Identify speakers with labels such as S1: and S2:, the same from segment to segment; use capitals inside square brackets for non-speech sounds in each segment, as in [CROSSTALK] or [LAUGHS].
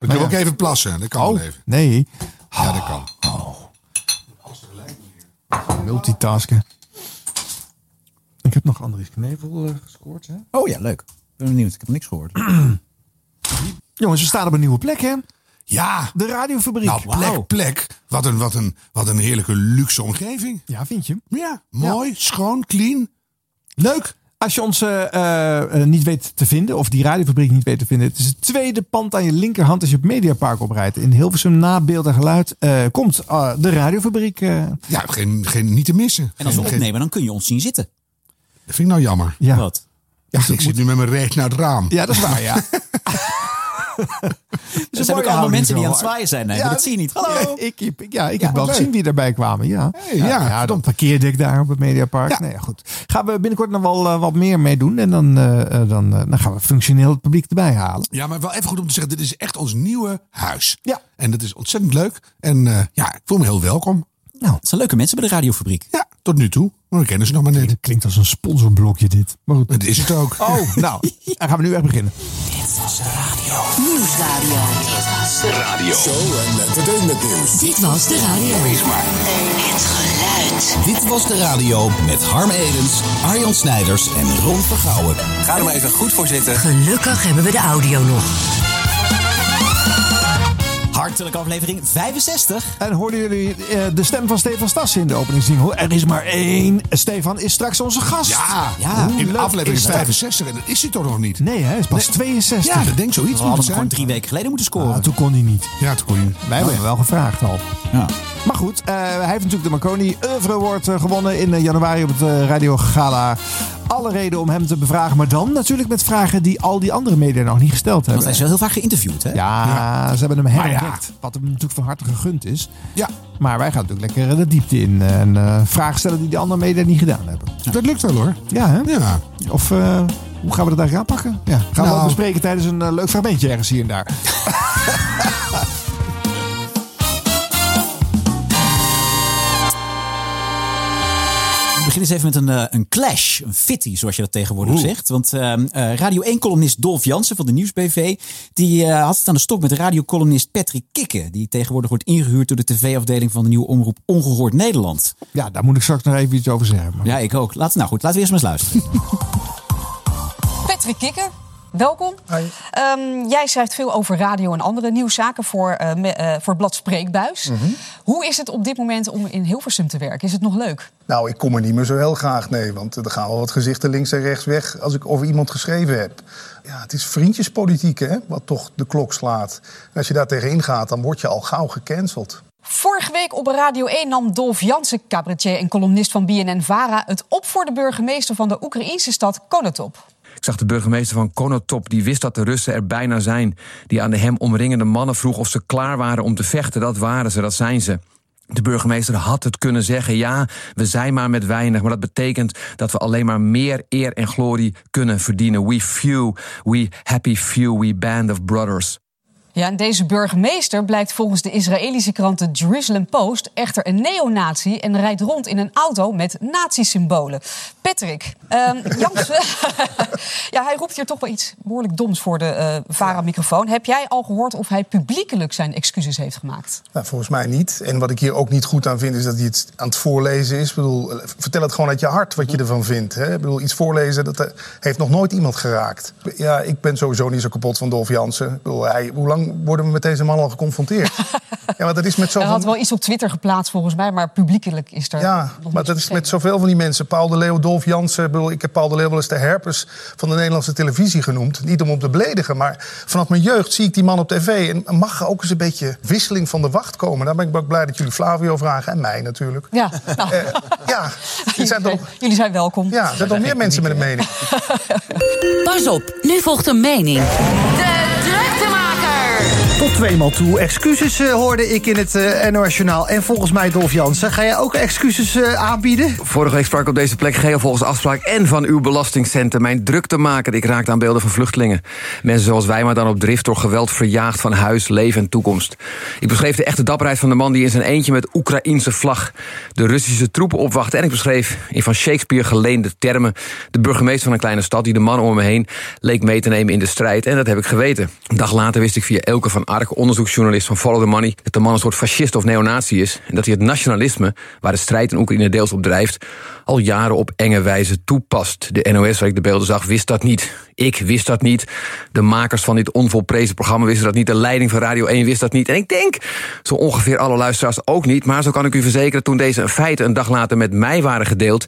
S1: We kunnen ook even plassen. Dat kan wel even.
S2: Nou Oh, Nee. Ah,
S1: Ja, dat kan.
S2: Multitasken. Ik heb nog Andries
S3: Knevel
S1: eh,
S3: gescoord, hè?
S2: Oh ja, leuk.
S3: Ik ben benieuwd. Ik heb niks gehoord.
S2: Jongens, we staan op een nieuwe plek, hè?
S1: Ja.
S2: De radiofabriek.
S1: Nou,
S2: Wauw.
S1: plek, plek. Wat een, wat een, wat een heerlijke luxe omgeving.
S2: Ja, vind je?
S1: Ja, mooi, schoon, clean. Leuk.
S2: Als je ons eh, eh, eh, niet weet te vinden, of die radiofabriek niet weet te vinden. Het is het tweede pand aan je linkerhand als je het Mediapark oprijdt. In Hilversum, na beeld en geluid, eh, komt eh, de radiofabriek. eh,
S1: Ja, geen, geen, niet te missen.
S3: En als we
S1: Geen- geen-
S3: opnemen, dan kun je ons zien zitten.
S1: dat vind ik nou jammer.
S2: ja.
S3: Wat?
S1: ik zit nu met mijn reet naar het raam.
S2: ja, dat is waar, ja.
S3: Er zijn ook allemaal mensen die aan het zwaaien zijn. Nee,
S2: Ja,
S3: maar dat zie je niet. Hallo.
S2: Ik, heb- ja, ik heb wel
S1: leuk.
S2: gezien wie daarbij kwamen. Ja,
S1: Hey, ja,
S2: dan parkeerde ik daar op het Mediapark.
S1: Ja.
S2: Nee, ja, goed. Gaan we binnenkort nog wel eh, wat meer mee doen. En dan, eh, eh, dan, eh, dan gaan we functioneel het publiek erbij halen.
S1: Ja, maar wel even goed om te zeggen, dit is echt ons nieuwe huis.
S2: Ja.
S1: En dat is ontzettend leuk. En eh, ja, ik voel me heel welkom.
S3: Nou, Het zijn leuke mensen bij de radiofabriek.
S1: Ja, tot nu toe. Maar we kennen ze nog maar net.
S2: Dit klinkt als een sponsorblokje dit. Maar goed.
S1: Dat is het ook.
S2: Oh,
S1: [LAUGHS]
S2: nou, dan gaan we nu echt beginnen.
S4: Nieuwsradio.
S5: Radio. Show
S6: eh,
S5: en entertainment nieuws.
S4: Dit was de radio.
S5: Wees maar.
S4: Het geluid.
S6: Dit was de radio met Harm Edens, Arjan Snijders en Ron Vergouwen. Ga er maar even goed voor zitten.
S4: Gelukkig hebben we de audio nog.
S3: Hartelijk aflevering 65.
S2: En hoorden jullie eh, de stem van Stefan Stas in de openingssingle? Er is maar één. Stefan is straks onze gast.
S1: Ja,
S2: Ja. Hoe
S1: in
S2: leuk
S1: aflevering
S2: is dat?
S1: 65. En dat is hij toch nog niet?
S2: Nee, hè, hij is pas 62.
S1: Ja, dat denk ik
S3: We
S1: zoiets moet
S3: hadden
S1: het
S3: hem gewoon
S1: zijn.
S3: drie weken geleden moeten
S2: Ah,
S3: scoren.
S2: toen kon hij niet.
S1: Ja, het kon.
S2: Wij hebben hem wel gevraagd al.
S3: Ja.
S2: Maar goed, eh, hij heeft natuurlijk de Marconi Oeuvre Award eh, gewonnen in eh, januari op het eh, Radio Gala. Alle reden om hem te bevragen, maar dan natuurlijk met vragen die al die andere media nog niet gesteld
S3: Want
S2: hebben.
S3: hij is wel heel vaak geïnterviewd, hè?
S2: Ja, ze hebben hem
S1: ja.
S2: herontdekt. Wat hem natuurlijk van harte gegund is.
S1: Ja,
S2: Maar wij gaan natuurlijk lekker de diepte in. eh, En eh, vragen stellen die de andere media niet gedaan hebben.
S1: dat lukt wel hoor.
S2: Ja, hè?
S1: Ja.
S2: Of eh, hoe gaan we dat eigenlijk aanpakken? Ja, gaan we
S1: Nou.
S2: dat bespreken tijdens een eh, leuk fragmentje ergens hier en daar.
S3: We beginnen eens even met een, eh, een clash, een fitty, zoals je dat tegenwoordig zegt. Want ehm, eh, Radio 1-columnist Dolf Jansen van de Nieuwsbv, die eh, had het aan de stok met radiocolumnist Patrick Kikke. Die tegenwoordig wordt ingehuurd door de tv-afdeling van de nieuwe omroep Ongehoord Nederland.
S2: Ja, daar moet ik straks nog even iets over zeggen. Maar
S3: Ja, ik ook. Laat, nou goed, laten we eerst maar eens luisteren.
S7: Patrick Kikker. Welkom. Ehm, jij schrijft veel over radio en andere nieuwszaken voor, eh, me- eh, voor het blad Spreekbuis. Hoe is het op dit moment om in Hilversum te werken? Is het nog leuk?
S8: Nou, ik kom er niet meer zo heel graag, nee. Want er gaan wel wat gezichten links en rechts weg als ik over iemand geschreven heb. Ja, het is vriendjespolitiek, hè, wat toch de klok slaat. En als je daar tegenin gaat, dan word je al gauw gecanceld.
S7: Vorige week op Radio 1 nam Dolf Jansen, cabaretier en columnist van BNN-VARA... het op voor de burgemeester van de Oekraïnse stad Konotop.
S9: Ik zag de burgemeester van Konotop, die wist dat de Russen er bijna zijn. Die aan de hem omringende mannen vroeg of ze klaar waren om te vechten. Dat waren ze, dat zijn ze. De burgemeester had het kunnen zeggen. Ja, we zijn maar met weinig. Maar dat betekent dat we alleen maar meer eer en glorie kunnen verdienen. We few, we happy few, we band of brothers.
S7: Ja, en deze burgemeester blijkt volgens de Israëlische krant de Jerusalem Post echter een neonazi en rijdt rond in een auto met nazi-symbolen.
S8: [LAUGHS]
S7: Patrick, ehm Jansen, [LAUGHS] ja, hij roept hier toch wel iets behoorlijk doms voor de eh VARA-microfoon. Heb jij al gehoord of hij publiekelijk zijn excuses heeft gemaakt?
S8: Nou, volgens mij niet. En wat ik hier ook niet goed aan vind, is dat hij het aan het voorlezen is. Ik bedoel, eh, vertel het gewoon uit je hart wat je ervan vindt. Hè? Ik bedoel, iets voorlezen, dat eh, heeft nog nooit iemand geraakt. Ja, ik ben sowieso niet zo kapot van Dolf Jansen. Ik bedoel, hij, hoe lang worden we met deze man al
S7: [LAUGHS]
S8: geconfronteerd? ja, maar dat is met
S7: Hij
S8: zoveel...
S7: had wel iets op Twitter geplaatst volgens mij, maar publiekelijk is er
S8: Ja,
S7: nog
S8: maar
S7: niets
S8: dat is met
S7: verschenen.
S8: zoveel van die mensen. Paul de Leeuw, Dolf Jansen. Ik, bedoel, ik heb Paul de Leeuw wel eens de herpes van de Nederlandse televisie genoemd. Niet om hem te beledigen, maar vanaf mijn jeugd zie ik die man op tv. En mag er ook eens een beetje wisseling van de wacht komen. Daar ben ik ook blij dat jullie Flavio vragen. En mij natuurlijk.
S7: Ja, nou,
S8: Eh, ja, er
S7: [LAUGHS]
S8: zijn toch,
S7: jullie zijn welkom. eh,
S8: ja, er zijn toch meer mensen met een mening.
S4: Pas op, nu volgt een mening.
S10: Tot tweemaal toe. Excuses eh, hoorde ik in het eh NOS Journaal. En volgens mij Dolf Jansen. Ga jij ook excuses eh, aanbieden?
S9: Vorige week sprak ik op deze plek geheel volgens afspraak en van uw belastingcenten. Mijn druk te maken. Ik raakte aan beelden van vluchtelingen. Mensen zoals wij, maar dan op drift door geweld verjaagd van huis, leven en toekomst. Ik beschreef de echte dapperheid van de man die in zijn eentje met Oekraïense vlag de Russische troepen opwachtte. En ik beschreef in van Shakespeare geleende termen de burgemeester van een kleine stad die de man om hem heen leek mee te nemen in de strijd. En dat heb ik geweten. Een dag later wist ik via Elke van Ark, onderzoeksjournalist van Follow the Money... dat de man een soort fascist of neonazi is... en dat hij het nationalisme, waar de strijd in Oekraïne deels op drijft... al jaren op enge wijze toepast. De NOS, waar ik de beelden zag, wist dat niet. Ik wist dat niet. De makers van dit onvolprezen programma wisten dat niet. De leiding van Radio 1 wist dat niet. En ik denk zo ongeveer alle luisteraars ook niet. Maar zo kan ik u verzekeren, toen deze feiten een dag later met mij waren gedeeld...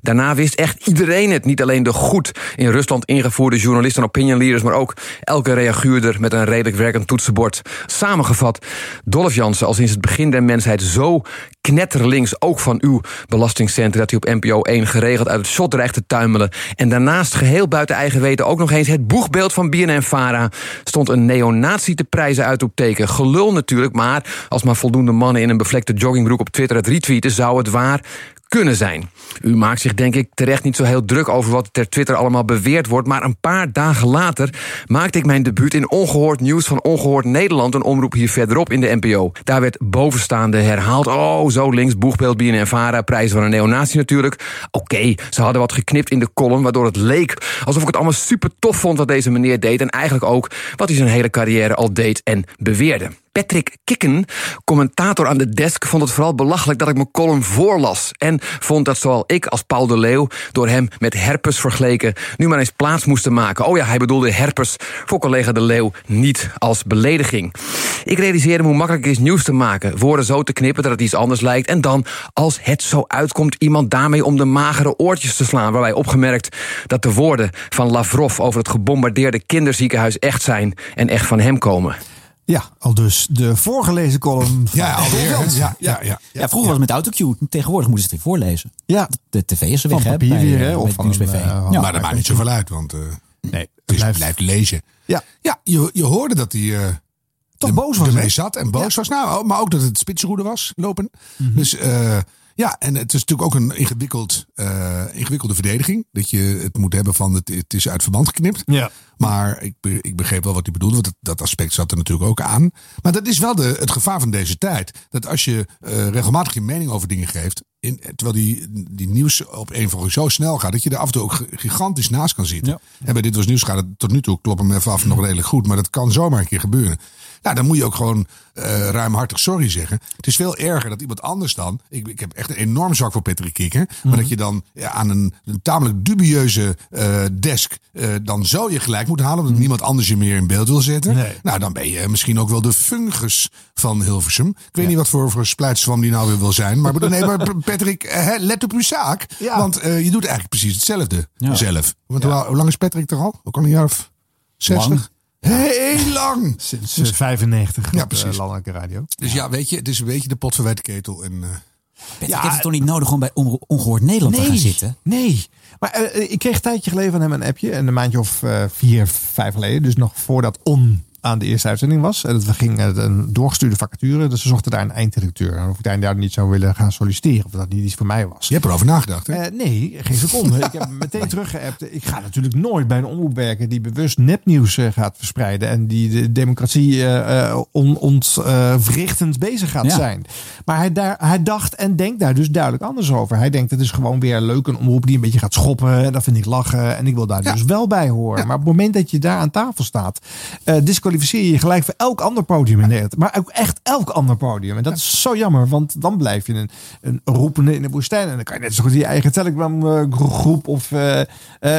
S9: daarna wist echt iedereen het. Niet alleen de goed in Rusland ingevoerde journalisten en opinion leaders... maar ook elke reaguurder met een redelijk werkend toetsenbord. Samengevat, Dolph Jansen al sinds het begin der mensheid... zo knetterlinks ook van uw belastingcentrum... dat hij op NPO 1 geregeld uit het shot dreigt te tuimelen. En daarnaast geheel buiten eigen weten ook nog eens... het boegbeeld van BNN-Vara stond een neonazi te prijzen uit op teken. Gelul natuurlijk, maar als maar voldoende mannen... in een bevlekte joggingbroek op Twitter het retweeten... zou het waar kunnen zijn. U maakt zich denk ik terecht niet zo heel druk over wat ter Twitter allemaal beweerd wordt, maar een paar dagen later maakte ik mijn debuut in Ongehoord Nieuws van Ongehoord Nederland, een omroep hier verderop in de NPO. Daar werd bovenstaande herhaald, oh zo links, boegbeeld, en Vara, prijs van een neonatie natuurlijk. Oké, ze hadden wat geknipt in de column, waardoor het leek alsof ik het allemaal super tof vond wat deze meneer deed en eigenlijk ook wat hij zijn hele carrière al deed en beweerde. Patrick Kikken, commentator aan de desk, vond het vooral belachelijk dat ik mijn column voorlas. En vond dat zowel ik als Paul de Leeuw, door hem met herpes vergeleken, nu maar eens plaats moesten maken. Oh ja, hij bedoelde herpes voor collega de Leeuw niet als belediging. Ik realiseerde me hoe makkelijk het is nieuws te maken, woorden zo te knippen dat het iets anders lijkt. En dan, als het zo uitkomt, iemand daarmee om de magere oortjes te slaan. Waarbij opgemerkt dat de woorden van Lavrov over het gebombardeerde kinderziekenhuis echt zijn en echt van hem komen.
S2: Ja, al dus de voorgelezen column. van
S1: Ja, alweer.
S2: Dolph Jansen.
S1: Ja, ja, ja.
S3: Ja, vroeger was het met autocue. Tegenwoordig moeten ze het weer voorlezen.
S2: Ja.
S3: De tv is er weg,
S2: Van
S3: hè?
S2: papier
S3: bij,
S2: weer,
S3: eh,
S2: hè,
S3: bij
S2: of
S3: het
S2: van
S3: nieuwsbv.
S2: een, eh,
S3: Ja.
S2: hand-
S1: maar Nou, dat maakt niet zoveel uit, want eh
S2: Nee,
S1: het is-
S2: blijft-
S1: blijft lezen.
S2: Ja,
S1: Ja, je, je hoorde dat hij eh,
S2: toch
S1: de-
S2: boos was.
S1: ermee
S2: hè?
S1: zat en boos was. Nou, maar ook dat het spitsroede was, lopen.
S2: Mhm.
S1: Dus eh, ja, en het is natuurlijk ook een ingewikkeld, eh, ingewikkelde verdediging. Dat je het moet hebben van het, het is uit verband geknipt.
S2: Ja.
S1: Maar ik, be- ik begreep wel wat hij bedoelde, want dat, dat aspect zat er natuurlijk ook aan. Maar dat is wel de, het gevaar van deze tijd. Dat als je eh, regelmatig je mening over dingen geeft, in, terwijl die, die nieuws op een volgende zo snel gaat, dat je er af en toe ook gi- gigantisch naast kan zitten. En bij Dit Was Nieuws gaat het tot nu toe, klop hem even af, nog redelijk goed. Maar dat kan zomaar een keer gebeuren. Nou, dan moet je ook gewoon eh, ruimhartig sorry zeggen. Het is veel erger dat iemand anders dan... Ik, ik heb echt een enorm zak voor Patrick Kikker. Maar dat je dan ja, aan een, een tamelijk dubieuze eh, desk... eh, dan zo je gelijk moet halen... omdat niemand anders je meer in beeld wil zetten.
S2: Nee.
S1: Nou, dan ben je misschien ook wel de fungus van Hilversum. Ik weet niet wat voor, voor splijtswam die nou weer wil zijn. Maar, bedoel, nee,
S8: [LAUGHS]
S1: maar Patrick, eh, hè, let op uw zaak.
S2: Ja.
S1: Want eh, je doet eigenlijk precies hetzelfde zelf. Want hoe, hoe lang is Patrick er al? Ook al een jaar of 60? Heel lang!
S2: Sinds eh, 95. Ja,
S1: precies.
S2: Landelijke radio.
S1: Dus ja, weet je, het is een beetje de pot verwijt ketel. En, eh,
S3: Patrick heeft het toch niet nodig om bij Onge- Ongehoord Nederland te gaan zitten?
S2: Nee. Maar eh, eh, ik kreeg een tijdje geleden van hem een appje. En een maandje of eh, vier, vijf geleden. Dus nog voordat on aan de eerste uitzending was. En dat we gingen een doorgestuurde vacature. Dus ze zochten daar een eindredacteur. En of ik daar daar niet zou willen gaan solliciteren. Of dat niet iets voor mij was.
S1: je hebt erover nagedacht, hè?
S2: Eh, nee, geen seconde. ik heb hem meteen [LAUGHS] teruggeappt. Ik ga natuurlijk nooit bij een omroep werken die bewust nepnieuws eh, gaat verspreiden. En die de democratie eh eh, on, ontwrichtend bezig gaat
S3: Ja.
S2: zijn. Maar hij, daar, hij dacht en denkt daar dus duidelijk anders over. Hij denkt het is gewoon weer leuk een omroep die een beetje gaat schoppen. En dat vind ik lachen. En ik wil daar dus wel bij horen. Maar op het moment dat je daar aan tafel staat, eh, disqualificeer je je gelijk voor elk ander podium in Nederland. Maar ook echt elk ander podium. En dat is zo jammer, want dan blijf je een, een roepende in de woestijn. En dan kan je net zo goed je eigen Telegram eh, gro- groep of eh, eh,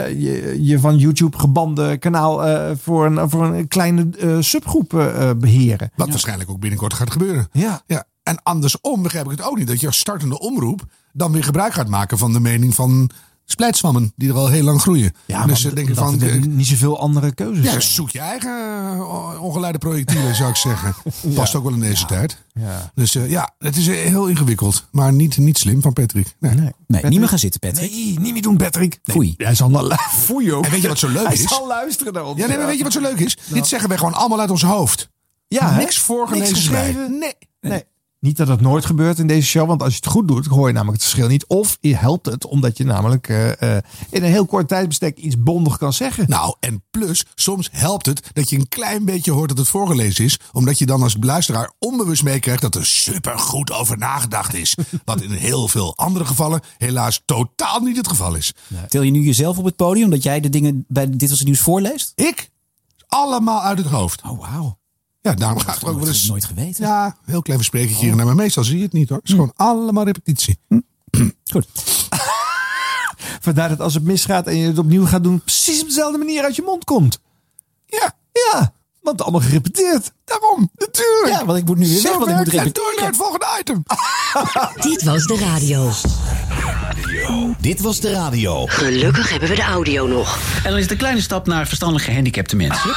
S2: je, je van YouTube gebande kanaal eh, voor, een, voor een kleine eh, subgroep eh, eh, beheren.
S1: Wat waarschijnlijk ook binnenkort gaat gebeuren.
S2: Ja.
S1: Ja. En andersom begrijp ik het ook niet. Dat je als startende omroep dan weer gebruik gaat maken van de mening van splijtswammen. Die er al heel lang groeien.
S2: Ja,
S1: dus
S2: maar
S1: ze denken
S2: dat
S1: van,
S2: er
S1: eh,
S2: niet zoveel andere keuzes.
S1: ja,
S2: zijn.
S1: zoek je eigen eh, ongeleide projectielen zou ik zeggen. Past ook wel in deze tijd.
S2: Ja.
S1: Dus eh, ja, het is eh, heel ingewikkeld. Maar niet, niet slim van Patrick. Nee.
S3: Nee, niet meer gaan zitten, Patrick.
S2: Nee, niet meer doen, Patrick. Nee,
S3: Foei.
S2: Hij zal naar [LAUGHS] Foei ook.
S1: En weet je wat zo leuk
S2: Hij
S1: is?
S2: zal luisteren naar ons.
S1: Ja, nee, maar weet je wat zo leuk is? Dit zeggen wij gewoon allemaal uit ons hoofd.
S2: Ja, hè?
S1: Niks voorgelezen
S2: Niks
S1: bij.
S2: geschreven. Nee. nee. Niet dat het nooit gebeurt in deze show, want als je het goed doet, hoor je namelijk het verschil niet. Of je helpt het omdat je namelijk eh, eh, in een heel kort tijdsbestek iets bondig kan zeggen.
S1: Nou, en plus, soms helpt het dat je een klein beetje hoort dat het voorgelezen is. Omdat je dan als luisteraar onbewust meekrijgt dat er supergoed over nagedacht
S3: [LAUGHS]
S1: is. Wat in heel veel andere gevallen helaas totaal niet het geval is.
S3: Tel je nu jezelf op het podium dat jij de dingen bij Dit Was Het Nieuws voorleest?
S1: Ik? Allemaal uit het hoofd.
S3: Oh, wauw.
S1: Ja, daarom gaat het ook wel
S3: Dat heb
S1: eens.
S3: ik nooit geweten. Oh. Hm.
S1: Ja, heel klein versprekertje hier en daar. Maar meestal zie je het niet hoor. Het is gewoon allemaal repetitie.
S3: [CLEARS THROAT] Goed.
S2: Vandaar dat als het misgaat en je het opnieuw gaat doen, precies op dezelfde manier uit je mond komt.
S1: Ja,
S2: Ja, want allemaal gerepeteerd.
S1: daarom. Natuurlijk.
S3: Ja, want ik moet nu weer weg, want ik moet
S1: En
S3: repeteren.
S1: door naar het volgende item.
S3: [LAUGHS]
S8: Dit was de radio.
S11: Dit was de radio.
S8: Gelukkig hebben we de audio nog.
S12: En dan is het een kleine stap naar verstandelijk gehandicapte
S2: [LAUGHS]
S12: mensen.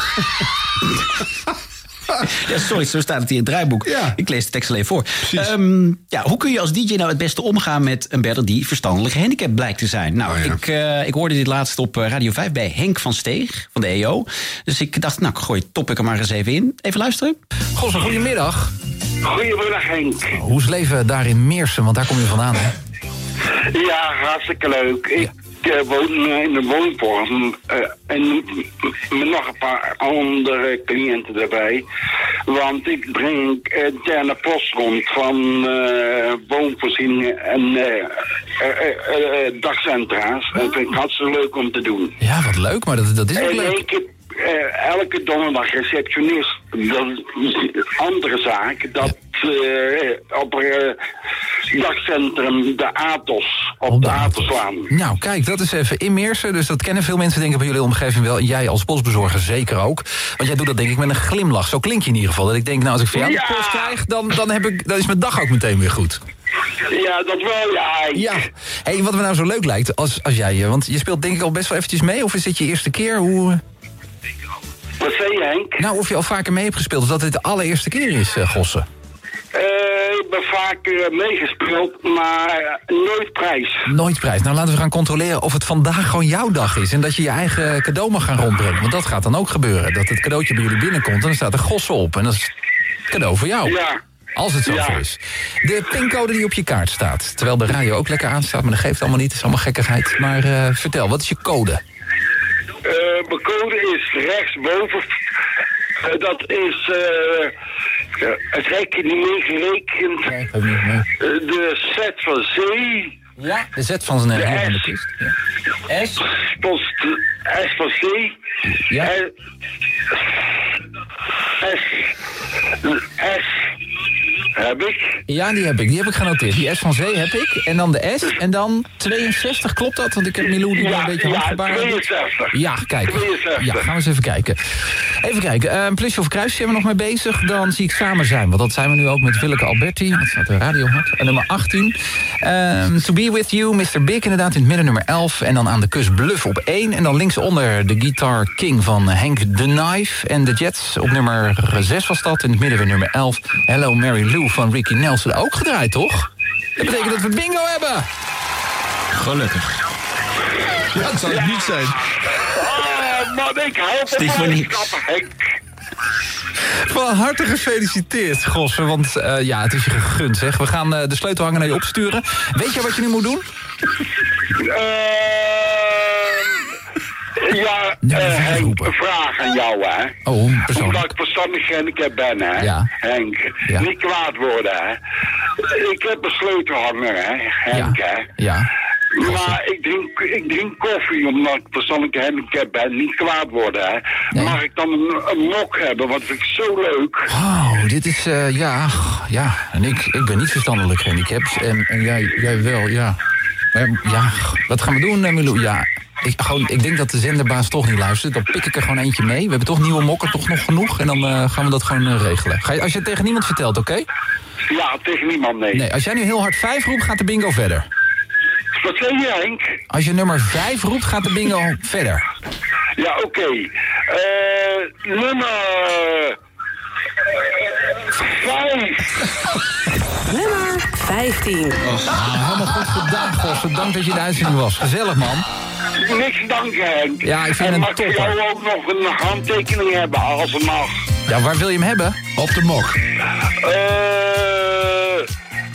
S12: Ja, sorry, zo staat het hier in het draaiboek.
S1: Ja.
S12: Ik lees de tekst alleen voor. Ehm, ja, hoe kun je als DJ nou het beste omgaan met een bedder die verstandelijk gehandicapt blijkt te zijn? Nou,
S1: Oh ja.
S12: ik, eh, ik hoorde dit laatst op eh, Radio 5 bij Henk van Steeg van de EO. Dus ik dacht, nou, ik gooi het topic er maar eens even in. [LAUGHS] Even luisteren.
S6: Gosse, goedemiddag.
S13: Goedemiddag Henk.
S6: Hoe is het leven daar in Meersen? Want daar kom je vandaan, hè?
S13: Ja, hartstikke leuk. Ik eh, woon eh, in de woonvorm eh, en niet met nog een paar andere cliënten erbij. Want ik breng interne post rond van eh, woonvoorzieningen en eh, eh, eh, eh, dagcentra's. Dat vind ik hartstikke leuk om te doen.
S6: Oh. Ja, wat leuk, maar dat, dat is ook
S13: En
S6: leuk.
S13: ik heb eh, elke donderdag receptionist. Dat is een andere zaak. Dat eh, op een dagcentrum de Atos. Op, de Atoslaan.
S6: Nou, kijk, dat is even in Meersen. Dus dat kennen veel mensen denk ik bij jullie omgeving wel. En jij als postbezorger zeker ook. Want jij doet dat denk ik met een glimlach. Zo klink je in ieder geval. Dat ik denk, nou, als ik van jou de
S13: Ja.
S6: post krijg, dan, dan, heb ik, dan is mijn dag ook meteen weer goed.
S13: Ja, dat wel, ja.
S6: Ja. hey, wat me nou zo leuk lijkt, als, als jij... eh, Want je speelt denk ik al best wel eventjes mee. Of is dit je eerste keer? Hoe... eh,
S13: Wat zei je, Henk?
S6: Nou, of je al vaker mee hebt gespeeld. Of dat dit de allereerste keer is, eh Gossen.
S13: Eh, ik ben vaak eh, meegespeeld, maar eh, nooit prijs.
S6: Nooit prijs. Nou, laten we gaan controleren of het vandaag gewoon jouw dag is. En dat je je eigen cadeau mag gaan rondbrengen. Want dat gaat dan ook gebeuren. Dat het cadeautje bij jullie binnenkomt en dan staat er gossen op. En dat is het cadeau voor jou.
S13: Ja.
S6: Als het zo
S13: Ja.
S6: is. De pincode die op je kaart staat. Terwijl de radio ook lekker aanstaat, maar dat geeft allemaal niet. Het is allemaal gekkigheid. Maar eh, vertel, wat is je code?
S13: Eh, mijn code is rechtsboven. Eh, dat is eh, eh, het rekje niet meegerekend. Eh, de set van zee.
S6: Ja. De zet van zijn
S13: De
S6: heel van de
S13: S.
S6: kist.
S12: S.
S13: Post, S van C.
S6: Ja.
S13: En- S. S. Heb ik.
S6: Ja, die heb ik. Die heb ik genoteerd. Die S van Zee heb ik. En dan de S. En dan 62, klopt dat? Want ik heb Milou die daar een beetje
S13: ja,
S6: handgebaren doet.
S13: 62.
S6: Ja, kijk.
S13: 62.
S6: Ja, gaan we eens even kijken. Even kijken. Eh, plusje of kruisje zijn we nog mee bezig. Dan zie ik samen zijn. Want dat zijn we nu ook met Willeke Alberti. Dat staat de radio hard. En nummer 18. Ehm, to be with you, Mr. Big inderdaad in het midden nummer 11. En dan aan de kus Bluff op 1. En dan linksonder de Guitar King van Henk The Knife. En de Jets op nummer 6 was dat. In het midden weer nummer 11. Hello Mary Lou van Ricky Nelson. Ook gedraaid, toch? Dat betekent dat we bingo hebben.
S12: Gelukkig.
S6: Ja, dat zou het niet zijn.
S4: Ah,
S13: Oh,
S4: nou,
S13: man, ik hou van
S6: Stief voor niks.
S13: boodschappen, Henk.
S6: Van harte gefeliciteerd, Gosse. Want eh, ja, het is je gegund, zeg. We gaan eh, de sleutelhanger naar je opsturen. Weet je wat je nu moet doen?
S13: Ehm, ja,
S6: Ja,
S13: eh,
S6: even
S13: Henk,
S6: Nou, roepen.
S13: een vraag aan jou, hè.
S6: Oh,
S13: Omdat
S6: persoonlijk.
S13: ik verstandig gehandicapt ben, hè.
S6: Ja.
S13: Henk,
S6: Ja.
S13: niet kwaad worden, hè. Ik heb een sleutelhanger, hè, Henk, hè.
S6: Ja.
S13: Maar ik drink, ik drink koffie omdat ik verstandelijk gehandicapt ben. Niet kwaad worden, hè. Mag ik dan een, een mok hebben? Want vind ik zo leuk.
S6: Oh, dit is, eh, ja, g- ja. En ik, ik ben niet verstandelijk gehandicapt. En, en jij, jij wel, ja. Maar ja, g- wat gaan we doen, eh, Milou? Ja, ik, gewoon, ik denk dat de zenderbaas toch niet luistert. Dan pik ik er gewoon eentje mee. We hebben toch nieuwe mokken, toch nog genoeg. En dan eh, gaan we dat gewoon eh, regelen. Ga je, als je het tegen niemand vertelt, oké?
S13: Ja, tegen niemand, nee.
S6: Nee, als jij nu heel hard vijf roept, gaat de bingo verder.
S13: Wat zeg je, Henk?
S6: Als je nummer 5 roept, gaat de bingo verder.
S13: Ja, oké. Eh, nummer... Vijf.
S8: Nummer 15.
S6: Ah, helemaal goed gedaan, Gossen. Dank dat je in de uitzending was. Gezellig, man.
S13: Niks danken, Henk.
S6: Ja, ik vind
S13: en
S6: hem
S13: mag ik
S6: topper.
S13: jou ook nog een handtekening hebben, als het mag?
S6: Ja, waar wil je hem hebben?
S1: Op de mok.
S13: Eh,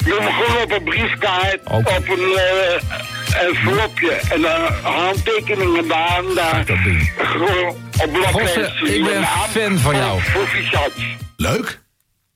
S13: doe hem gewoon op een briefkaart, op een, eh, envelopje. En dan handtekeningen daar en daar.
S6: Dat doen.
S13: Gewoon op blokjes.
S6: Gosse, ik ben fan van jou.
S13: Proficiat.
S1: Leuk.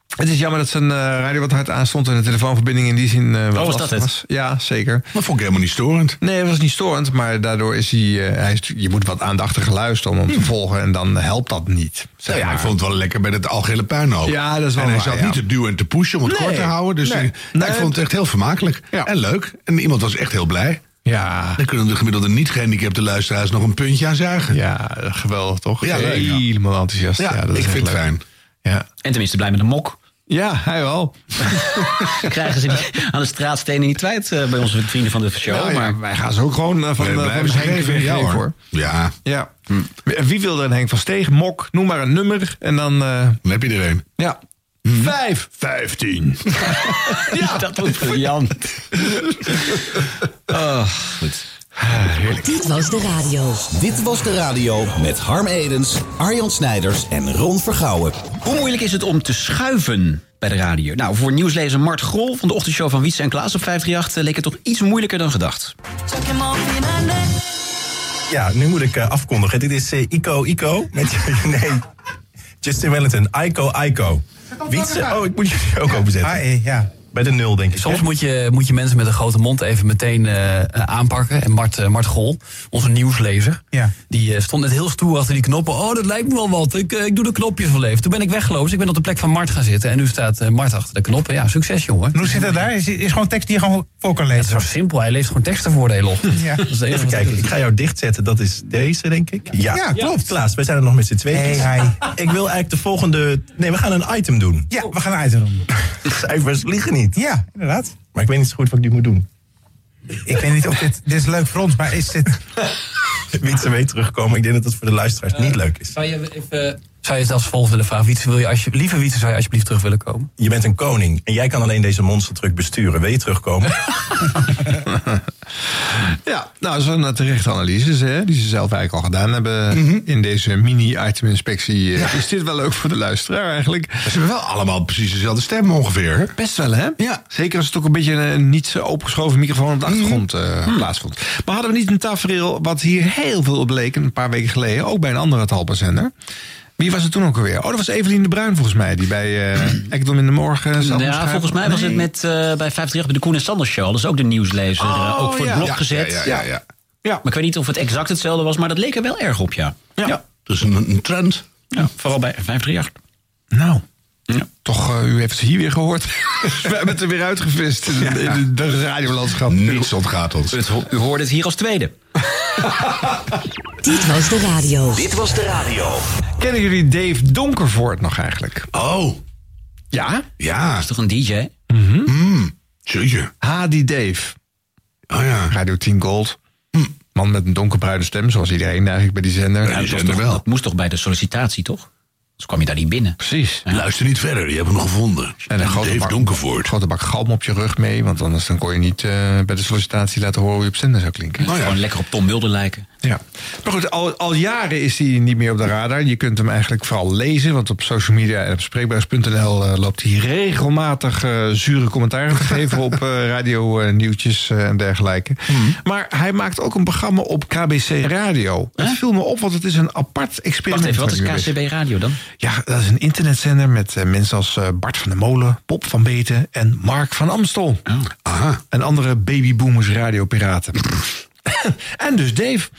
S2: Het is jammer dat zijn eh, radio wat hard aanstond en de telefoonverbinding in die zin eh,
S3: Oh,
S2: wel
S13: was
S2: lastig
S13: dat het?
S2: was. Ja, zeker.
S1: Dat vond ik helemaal niet storend.
S2: Nee, het was niet storend, maar daardoor is hij, eh, hij is, je moet wat aandachtiger luisteren om hem te volgen en dan helpt dat niet. Zeg
S1: Hm. Nou ja,
S2: maar.
S1: ik vond het wel lekker met het algele puin ook.
S2: Ja, dat is wel
S1: En hij
S2: waar,
S1: zat
S2: ja.
S1: niet te duwen en te pushen om het
S2: Nee.
S1: kort te houden. Dus
S2: Nee.
S1: eh, nou, ik
S2: Nee.
S1: vond het echt heel vermakelijk. En leuk. En iemand was echt heel blij.
S2: Ja.
S1: Dan kunnen de gemiddelde niet-gehandicapte luisteraars nog een puntje aan zuigen.
S2: Ja, geweldig toch?
S1: Ja, leuk, ja.
S2: Helemaal enthousiast.
S1: Ja,
S2: dat is
S1: ik
S2: echt
S1: vind het
S2: leuk.
S1: fijn.
S2: Ja.
S3: En tenminste blij met een mok.
S2: Ja, hij wel.
S3: [LAUGHS]
S2: [LAUGHS]
S3: Krijgen ze die aan de straatstenen niet kwijt eh, bij onze vrienden van de show.
S2: Nou ja,
S3: maar
S2: wij gaan ze ook gewoon eh, van,
S1: Nee,
S2: eh,
S1: blijven
S2: van
S1: ze
S2: Henk
S1: geven, ja,
S2: weggeven,
S1: hoor.
S2: hoor.
S1: Ja.
S2: Ja. Wie wil er een Henk van Steeg? Mok, noem maar een nummer. En dan... eh
S1: Dan heb je er een. Mhm.
S2: Ja. Vijf.
S1: Vijftien. [LAUGHS]
S4: [LAUGHS]
S3: ja, dat was briljant.
S4: Oh,
S14: Dit was de radio.
S4: Dit was de radio met Harm Edens, Arjan Snijders en Ron Vergouwen.
S3: Hoe moeilijk is het om te schuiven bij de radio? Nou, voor nieuwslezer Mart Grol van de ochtendshow van Wietse en Klaas op 538... eh, leek het toch iets moeilijker dan gedacht.
S15: Ja, nu moet ik eh, afkondigen. Dit is eh, Ico Ico met... [LAUGHS] nee, Justin Wellington. Ico Ico. Wietse... Oh, ik moet jullie ook openzetten.
S11: Hi,
S15: ja. Bij de nul, denk ik.
S11: Soms
S15: hè?
S11: moet je, moet je mensen met een grote mond even meteen eh, eh, aanpakken. En Mart, eh, Mart Gol, onze nieuwslezer,
S15: Ja.
S11: die eh, stond net heel stoer achter die knoppen. Oh, dat lijkt me wel wat. Ik, eh, ik doe de knopjes wel even. Toen ben ik weggelopen, dus ik ben op de plek van Mart gaan zitten. En nu staat eh, Mart achter de knoppen. Ja, succes jongen.
S13: Hoe zit het daar? Is, is gewoon tekst die je gewoon voor kan lezen?
S11: Het is zo simpel, hij leest gewoon teksten voor de hele ochtend.
S13: Ja.
S11: Dat is het enige
S15: Even
S11: wat hij
S15: kijken,
S11: doet.
S15: ik ga jou dichtzetten. Dat is deze, denk ik. Ja,
S13: Ja, klopt.
S15: Klaas, wij zijn er nog met z'n tweeën.
S13: Hey,
S15: [LAUGHS] Ik wil eigenlijk de volgende... Nee, we gaan een item doen.
S13: Ja, we gaan uit doen.
S15: [LAUGHS] Cijfers liegen niet.
S13: Ja, inderdaad.
S15: Maar ik weet niet zo goed wat ik nu moet doen.
S13: Ik weet niet of dit... Dit is leuk voor ons, maar is
S15: [LAUGHS]
S13: dit...
S15: Wietse mee terugkomen. Ik denk dat dat voor de luisteraars niet leuk is.
S11: Zou je, even, zou je zelfs vol willen vragen? Wietse, wil je alsje, lieve Wietse, zou je alsjeblieft terug willen komen?
S15: Je bent een koning en jij kan alleen deze monstertruck besturen. Wil je terugkomen?
S2: Ja, nou, dat is een eh, terechte analyse hè, die ze zelf eigenlijk al gedaan hebben
S1: Mhm.
S2: in deze mini-item-inspectie. eh, Is dit wel leuk voor de luisteraar eigenlijk?
S1: Ze hebben wel allemaal precies dezelfde stem ongeveer. hè?
S2: Best wel, hè? Ja. Zeker als het ook een beetje een niet zo opengeschoven microfoon op de achtergrond
S1: Mhm.
S2: eh, plaatsvond. Maar hadden we niet een tafereel wat hier heel veel op leek een paar weken geleden, ook bij een andere talpenzender? Wie was het toen ook alweer? Oh, dat was Evelien de Bruin volgens mij, die bij eh Ekdom in de Morgen zat.
S3: Nou ja,
S2: omschrijven.
S3: volgens mij was het
S2: Nee.
S3: met, eh, bij 538 bij de Koen en Sanders Show. Dat is ook de nieuwslezer. eh,
S2: Oh,
S3: ook voor
S2: ja.
S3: het blok
S2: Ja,
S3: gezet.
S2: ja, ja, ja, ja.
S3: Maar ik weet niet of het exact hetzelfde was, maar dat leek er wel erg op, ja. Ja,
S1: Dus een, een trend.
S3: Ja, vooral bij 538.
S2: Nou, toch, eh, u heeft het hier weer
S3: [LAUGHS]
S2: gehoord. We hebben het er weer uitgevist in, in de- de radiolandschap.
S1: Niets ontgaat ons.
S3: Het ho- U hoorde het hier als tweede.
S14: Dit was de radio.
S4: Dit was de radio.
S2: Kennen jullie Dave Donkervoort nog eigenlijk?
S1: Oh.
S2: Ja?
S1: Ja.
S3: Dat is toch een DJ?
S1: Mm. Jeetje.
S2: Hadi Dave.
S1: Oh ja.
S2: Radio 10 Gold. Hm. Man met een donkerbruine stem, zoals iedereen eigenlijk bij die zender.
S3: Ja, dat, was toch, dat moest toch bij de sollicitatie, toch? Dus kwam je daar niet binnen.
S2: Precies.
S1: Luister niet verder, die hebben we nog gevonden.
S2: En een grote
S1: Dave
S2: bak,
S1: Donkervoort.
S2: grote bak galm op je rug mee, want anders dan kon je niet eh, bij de sollicitatie laten horen hoe je op zender zou klinken.
S3: Gewoon lekker op Tom Mulder lijken.
S2: Ja. Maar goed, al, al jaren is hij niet meer op de radar. Je kunt hem eigenlijk vooral lezen, want op social media en op spreekbuis.nl eh, loopt hij regelmatig eh, zure commentaren te geven op eh radio eh, nieuwtjes eh, en dergelijke. Maar hij maakt ook een programma op KBC Radio. Het viel me op, want het is een apart experiment.
S3: Wacht even, wat is
S2: waar hij mee
S3: KCB Radio dan?
S2: ja, dat is een internetzender met eh, mensen als eh, Bart van der Molen, Pop van Beten en Mark van Amstel.
S3: Oh.
S2: En andere babyboomers
S3: [LAUGHS]
S2: radiopiraten. en dus Dave.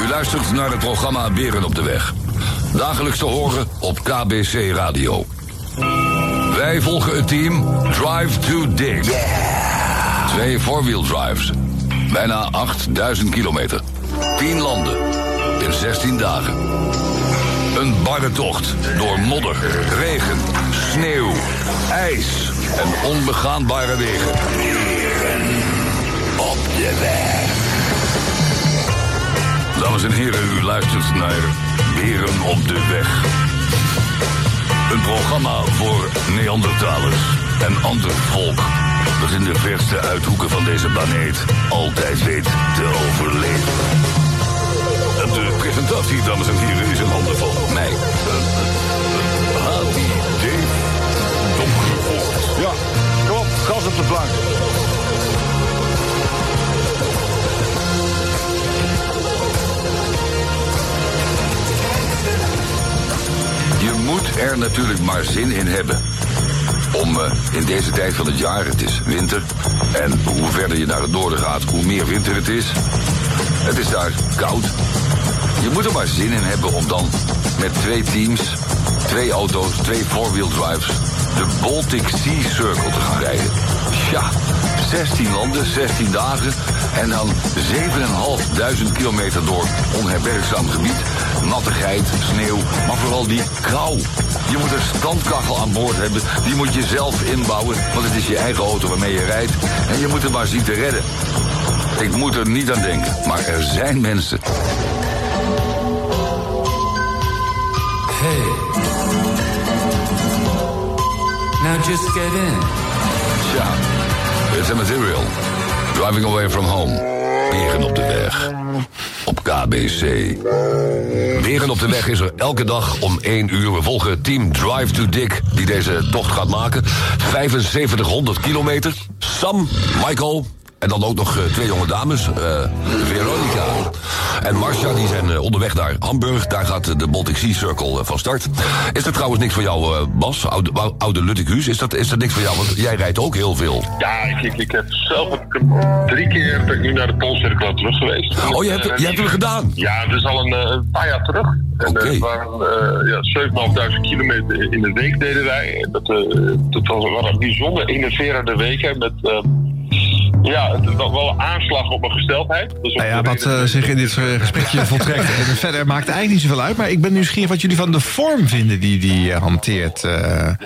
S16: U luistert naar het programma Beren op de Weg. Dagelijks te horen op KBC Radio. Wij volgen het team Drive to Dig. Twee four-wheel drives. Bijna 8000 kilometer. 10 landen. In 16 dagen. Een barre tocht door modder, regen, sneeuw, ijs en onbegaanbare wegen. Beren op de weg. Dames en heren, u luistert naar Beren op de Weg. Een programma voor Neandertalers en ander volk. Dat in de verste uithoeken van deze planeet altijd weet te overleven. De presentatie, dames en heren, is in handen van mij. Hadi Dave Donkervoort. Ja, kom op, gas op de plank. Je moet er naartoe. natuurlijk maar zin in hebben. Om eh, in deze tijd van het jaar, het is winter. En hoe verder je naar het noorden gaat, hoe meer winter het is. Het is daar koud. Je moet er maar zin in hebben om dan met twee teams, twee auto's, twee four-wheel drives. de Baltic Sea Circle te gaan rijden. Tja, 16 landen, 16 dagen. en dan 7.500 kilometer door onherbergzaam gebied. Nattigheid, sneeuw, maar vooral die kou. Je moet een standkachel aan boord hebben. Die moet je zelf inbouwen, want het is je eigen auto waarmee je rijdt. En je moet er maar zien te redden. Ik moet er niet aan denken, maar er zijn mensen.
S17: Hey. Now just get in.
S16: Tja, it's a material. Driving away from home. Beren op de weg. Op KBC. Beren op de weg is er elke dag om 1 uur. We volgen team Drive to Dick, die deze tocht gaat maken. 7500 kilometer. Sam, Michael. En dan ook nog eh, twee jonge dames, eh, Veronica en Marcia, die zijn eh, onderweg naar Hamburg. Daar gaat eh, de Baltic Sea Circle eh, van start. Is er trouwens niks voor jou, eh, Bas, oude, ou- oude Luttighuis? Is dat, is dat niks voor jou? Want jij rijdt ook heel veel.
S18: Ja, ik, ik, ik heb zelf heb ik drie keer ben ik nu naar de Poolcirkel terug geweest.
S16: Oh, je hebt- je hebt hem gedaan?
S18: Ja, dus al een, eh, een paar jaar terug. En eh, het waren eh, ja, 7.500 kilometer in de week deden wij. En Dat, eh, dat was wel een bijzonder innoverende week. Hè, met eh, ja, het, wel, wel een aanslag op mijn gesteldheid. Dus op
S2: Nou ja,
S18: de
S2: wat eh, zich in
S1: [LAUGHS]
S2: dit eh, gesprekje voltrekt. En verder maakt eigenlijk niet zoveel uit. Maar ik ben nieuwsgierig wat jullie van de vorm vinden die die eh, hanteert. eh. Ja,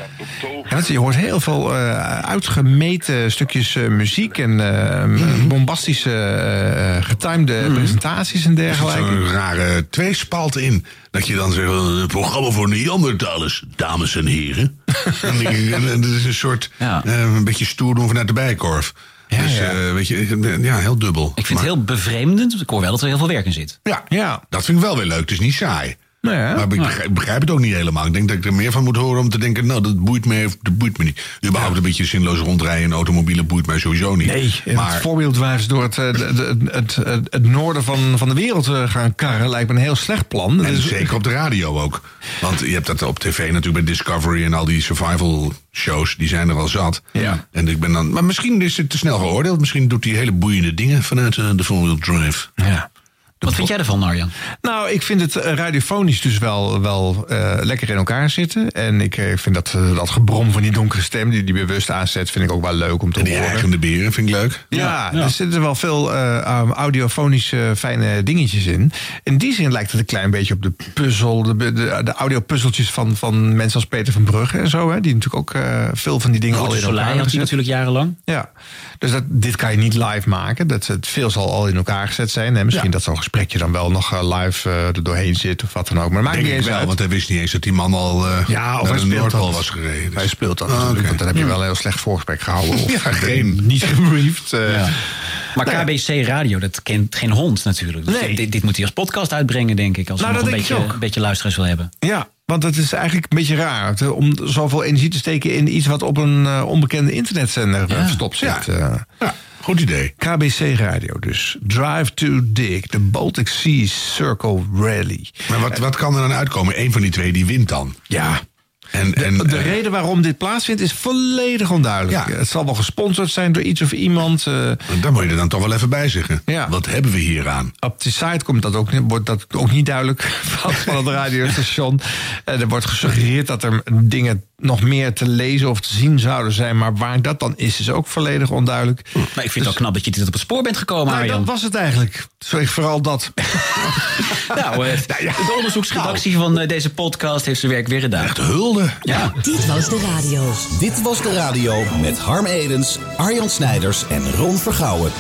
S2: want je hoort heel veel eh, uitgemeten stukjes eh, muziek en eh,
S1: Mhm.
S2: bombastische eh, getimede presentaties en
S1: Er zit
S2: dergelijke.
S1: zo'n rare tweespalt in. Dat je dan zegt, eh, een programma voor Neandertalers, dames en heren. Dan denk ik, eh, dat is een soort, eh, een beetje stoer doen vanuit de bijkorf. dus, eh, weet je, ik- eh, ja, heel dubbel. Ik
S3: vind het heel bevreemdend, want ik hoor wel dat er heel veel werk in zit.
S1: Ja, ja, dat vind ik wel weer leuk. Het is niet saai.
S2: Nee, hè?
S1: maar ik begrijp, ik begrijp het ook niet helemaal. Ik denk dat ik er meer van moet horen om te denken... nou, dat boeit me, of dat boeit me niet. Überhaupt een beetje zinloos rondrijden in automobielen boeit mij sowieso niet.
S2: Nee, maar...
S1: maar
S2: het voorbeelddwijs door het, eh, de- de- het, het, het noorden van, van de wereld eh, gaan karren lijkt me een heel slecht plan. Dat
S1: En dus
S2: is-
S1: zeker op de radio ook. Want je hebt dat op tv natuurlijk bij Discovery en al die survival shows, die zijn er al zat.
S2: Ja.
S1: En ik ben dan, maar misschien is het te snel geoordeeld. Misschien doet hij hele boeiende dingen vanuit eh, de four-wheel drive.
S2: Ja.
S3: Wat vind jij ervan, Arjan?
S2: Nou, ik vind het eh, radiofonisch dus wel, wel eh, lekker in elkaar zitten. En ik eh, vind dat, eh, dat gebrom van die donkere stem die die bewust aanzet, vind ik ook wel leuk om te horen.
S1: Die de beren vind ik leuk.
S2: Ja, er zitten wel veel eh, um, audiofonische fijne dingetjes in. In die zin lijkt het een klein beetje op de puzzel, de, de, de audiopuzzeltjes van, van mensen als Peter van Brugge en eh, zo. Hè, die natuurlijk ook eh, veel van die dingen al
S3: Goed,
S2: in elkaar
S3: Soleil had hij
S2: gezet.
S3: natuurlijk jarenlang.
S2: Ja, dus dat, dit kan je niet live maken. Dat, het, veel zal al in elkaar gezet zijn. Hè. Misschien dat zo'n gesprekje dan wel nog eh, live eh, er doorheen zit of wat dan ook. Maar dat maakt
S1: Denk
S2: niet
S1: ik
S2: eens
S1: wel,
S2: uit.
S1: want hij wist niet eens dat die man al eh,
S2: Ja, of
S1: naar
S2: hij
S1: de
S2: speelt
S1: Noordpool
S2: dat.
S1: was gereden.
S2: Hij speelt dat
S1: Ah,
S2: natuurlijk,
S1: oké.
S2: want dan heb je
S1: Ja.
S2: wel een heel slecht voorgesprek [LAUGHS] gehouden. Of
S3: [LAUGHS]
S1: Ja, geen.
S2: Niet gebriefd. eh.
S3: Oh, Maar
S2: Nou ja.
S3: KBC Radio, dat kent geen hond natuurlijk. Dus dit, dit moet hij als podcast uitbrengen, denk ik. Als
S2: Nou,
S3: hij nog
S2: dat
S3: een
S2: denk ik
S3: beetje,
S2: ook.
S3: een beetje luisteraars wil hebben.
S2: Ja, want het is eigenlijk een beetje raar het, eh, om zoveel energie te steken in iets wat op een eh, onbekende internetzender eh, verstopt zit. eh. Ja.
S1: goed idee.
S2: KBC Radio dus. Drive to Dick, de Baltic Sea Circle Rally.
S1: Maar wat, wat kan er dan uitkomen? Eén van die twee die wint dan.
S2: Ja.
S1: En, en,
S2: De
S1: eh,
S2: reden waarom dit plaatsvindt is volledig onduidelijk. Het zal wel gesponsord zijn door iets of iemand. eh.
S1: Daar moet je er dan toch wel even bij zeggen. Wat hebben we hier aan?
S2: Op de site komt dat ook, niet- wordt dat ook niet duidelijk [LAUGHS] van, van het radiostation. Eh, Er wordt gesuggereerd dat er dingen nog meer te lezen of te zien zouden zijn. Maar waar dat dan is, is ook volledig onduidelijk. Maar ik
S3: Hm, vind het wel knap dat je dit op het spoor bent gekomen, Arjan.
S2: Dat was het eigenlijk. Zeg vooral
S3: [LAUGHS]
S2: dat.
S3: Nou, eh, de onderzoeksredactie van eh, deze podcast heeft zijn werk weer gedaan. Echt
S1: hulde.
S3: Ja.
S4: Dit was de radio. Dit was de radio met Harm Edens, Arjan Snijders en Ron Vergouwen.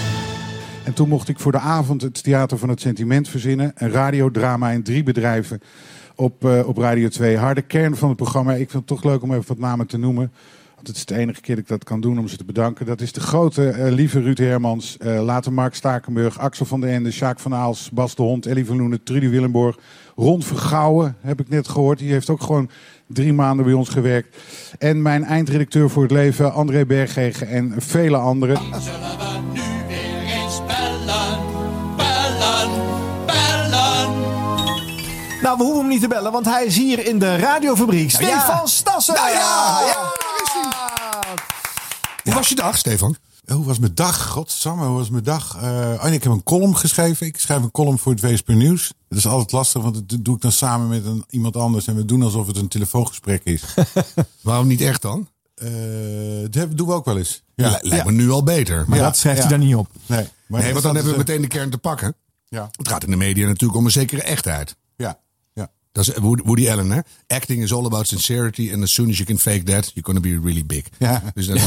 S19: En toen mocht ik voor de avond het Theater van het Sentiment verzinnen. Een radiodrama in drie bedrijven op, eh, op Radio 2. Harde kern van het programma. Ik vind het toch leuk om even wat namen te noemen. Want het is de enige keer dat ik dat kan doen om ze te bedanken. Dat is de grote, eh, lieve Ruud Hermans. eh, later Mark Stakenburg, Axel van den Ende, Sjaak van Aals, Bas de Hond, Ellie van Loenen, Trudy Willenborg. Ron Vergouwen heb ik net gehoord. Die heeft ook gewoon drie maanden bij ons gewerkt. En mijn eindredacteur voor het leven, André Berghegen en vele anderen.
S14: Nou, we hoeven hem niet te bellen, want hij is hier in de radiofabriek.
S4: ja.
S14: Stefan Stijl.
S2: Klaassen!
S1: Nou ja, ja, Hoe was je dag, Stefan?
S19: Eh, Hoe was mijn dag? Godsamme, hoe was mijn dag? Eh, oh, nee, ik heb een column geschreven. Ik schrijf een column voor het WSP Nieuws. Dat is altijd lastig, want dat doe ik dan samen met een, iemand anders. En we doen alsof het een telefoongesprek is. Eh,
S1: Waarom [LAUGHS] niet echt dan?
S19: dat doen we ook wel eens.
S1: Ja, lijkt me nu al beter.
S19: Ja, ja.
S1: Nee,
S19: Nee, maar
S1: nee
S19: dat is,
S1: want dan hebben we
S19: eh,
S1: meteen de kern te pakken.
S19: Ja.
S1: Het gaat in de media natuurlijk om een zekere echtheid.
S19: Ja. ja.
S1: Dat is eh, Woody Woody Allen, hè? Acting is all about sincerity. And as soon as you can fake that, you're gonna be really big.
S19: Ja.
S1: [LAUGHS] Dus
S19: [LAUGHS]
S1: dat is,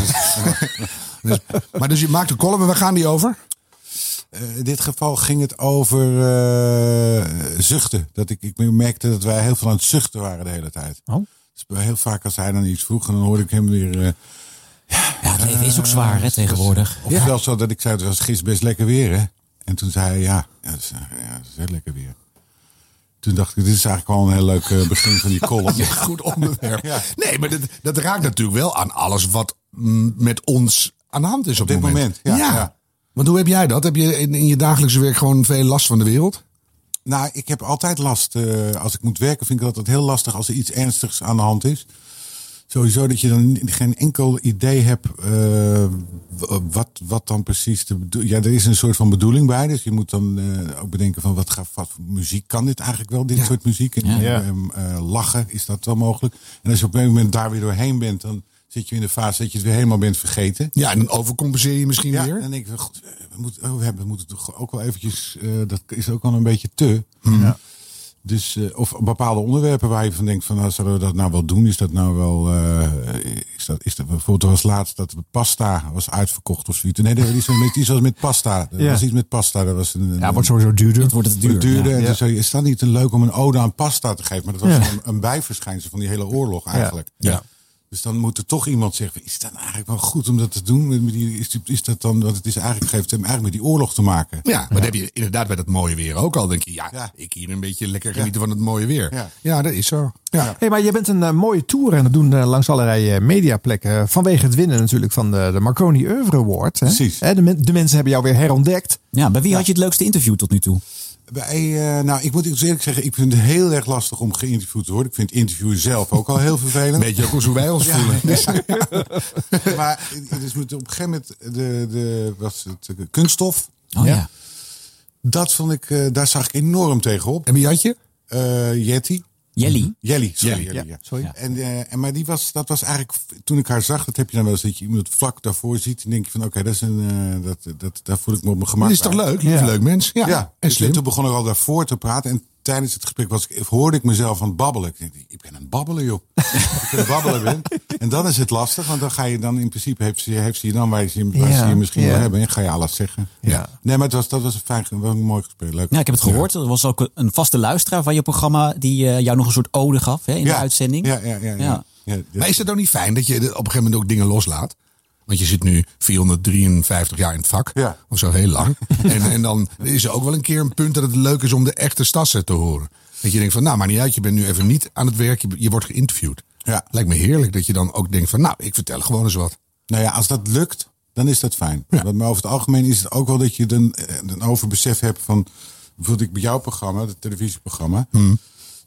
S1: dus- maar dus je maakt een column en waar gaan die over?
S19: Eh, in dit geval ging het over eh, zuchten. Dat ik, ik merkte dat wij heel veel aan het zuchten waren de hele tijd.
S3: Oh.
S19: Dus heel vaak als hij dan iets vroeg, dan hoorde ik hem weer. eh, ja,
S3: het leven is ook zwaar, hè, tegenwoordig.
S19: Of zelfs zo dat ik zei, het was gisteren best lekker weer, hè? En toen zei hij, ja, ja, het is, eh, ja, het is heel lekker weer. Toen dacht ik, dit is eigenlijk wel een heel leuk eh, begin
S3: [LAUGHS]
S19: van die column.
S1: Goed onderwerp. Nee, maar dat, dat raakt natuurlijk wel aan alles wat mm, met ons aan de hand is op, dit moment.
S19: ja,
S1: ja.
S19: ja.
S1: Want hoe heb jij dat? Heb je in, in je dagelijkse werk gewoon veel last van de wereld?
S19: Nou, ik heb altijd last. eh, als ik moet werken, vind ik dat altijd heel lastig als er iets ernstigs aan de hand is. Sowieso dat je dan ni- geen enkel idee hebt eh, w- wat, wat dan precies de bedoeling Ja, er is een soort van bedoeling bij. Dus je moet dan eh, ook bedenken van wat, gaat, wat voor muziek kan dit eigenlijk wel, dit soort muziek. En,
S20: Ja. Ja.
S19: en, eh, lachen, is dat wel mogelijk? En als je op een gegeven moment daar weer doorheen bent, dan zit je in de fase dat je het weer helemaal bent vergeten.
S1: Ja, en dan overcompenseer je misschien
S19: Ja,
S1: weer.
S19: dan denk ik, god, we moeten, oh, we hebben- we moeten toch ook wel eventjes, eh, dat is ook al een beetje te. Dus, eh, of bepaalde onderwerpen waar je van denkt van, nou, zullen we dat nou wel doen? Is dat nou wel, eh, is dat, is dat, bijvoorbeeld er was laatst dat pasta was uitverkocht of zoiets. Nee, nee, iets, met, iets was met pasta. Er
S2: Ja.
S19: was iets met pasta. Er was een, een-
S2: Ja, het wordt sowieso duurder.
S19: wordt het duurder.
S2: ja.
S19: En
S2: Ja.
S19: toen zei je, is dat niet een leuk om een ode aan pasta te geven? Maar dat was
S2: Ja.
S19: een, een bijverschijnsel van die hele oorlog eigenlijk.
S1: Ja. Ja.
S19: Dus dan moet er toch iemand zeggen, is dat nou eigenlijk wel goed om dat te doen? Met die- Is, is dat dan, want het is eigenlijk, geeft hem eigenlijk met die oorlog te maken.
S1: Ja, maar dat heb je inderdaad bij dat mooie weer ook al. denk je, ja, ik hier een beetje lekker genieten van het mooie weer. Ja, dat is zo. Ja.
S2: Hey, maar je bent een eh, mooie tour en dat doen eh, langs allerlei eh, mediaplekken. Vanwege het winnen natuurlijk van de, de Marconi Oeuvre Award. Hè? Precies. de, men- de mensen hebben jou weer herontdekt.
S3: Ja, bij wie had je het leukste interview tot nu toe?
S19: Bij, eh, nou, ik moet eerlijk zeggen, ik vind het heel erg lastig om geïnterviewd te worden. Ik vind interviewen zelf ook al heel vervelend.
S1: Weet je ook hoe wij ons
S19: Ja.
S1: voelen?
S19: Dus- [LAUGHS] maar dus met, op een gegeven moment de, de, was het eh, kunststof.
S3: Oh, ja.
S19: Dat vond ik, eh, daar zag ik enorm tegenop.
S1: En wie had je?
S19: Yeti.
S3: Jelly.
S19: Jelly, sorry.
S1: Jelly,
S19: Jelly,
S1: ja,
S19: ja.
S1: sorry.
S19: En, eh, en, maar die was, dat was eigenlijk, toen ik haar zag, dat heb je dan wel eens, dat je iemand vlak daarvoor ziet. En denk je van, oké, dat is een, eh, dat, dat, daar voel ik me op mijn gemak
S1: Dat is toch
S19: bij.
S1: leuk? Lief, leuk mens. Ja. En
S19: en
S1: slim.
S19: Dus toen begon ik al daarvoor te praten. En tijdens het gesprek was, ik- hoorde ik mezelf aan het babbelen. Ik, denk, ik ben aan het babbelen, joh. [LAUGHS] ik ben aan het babbelen. Ben. En dan is het lastig, want dan ga je dan in principe, heeft ze, heeft ze je dan waar ze, waar ze
S3: Ja,
S19: je misschien
S3: ja.
S19: wil hebben. En ga je alles zeggen. Ja. Nee, maar het was, dat was een fijn, wel een mooi gesprek. Leuk.
S3: Ja, ik heb het gehoord. Er was ook een vaste luisteraar van je programma die eh, jou nog een soort ode gaf hè, in de
S1: Ja.
S3: uitzending.
S1: Ja, ja, ja, ja.
S3: ja.
S1: Maar is het ook niet fijn dat je op een gegeven moment ook dingen loslaat? Want je zit nu 453 jaar in het vak. Of zo heel
S19: [LAUGHS]
S1: lang. en, en dan is er ook wel een keer een punt dat het leuk is om de echte stassen te horen. Dat je denkt van, nou, maar niet uit. Je bent nu even niet aan het werk. Je, je wordt geïnterviewd.
S19: Ja.
S1: Lijkt me heerlijk dat je dan ook denkt van, nou, ik vertel gewoon eens wat.
S19: Nou ja, als dat lukt, dan is dat fijn. Want Maar over het algemeen is het ook wel dat je een, een overbesef hebt van... Bijvoorbeeld ik bij jouw programma, het televisieprogramma.
S1: Mhm.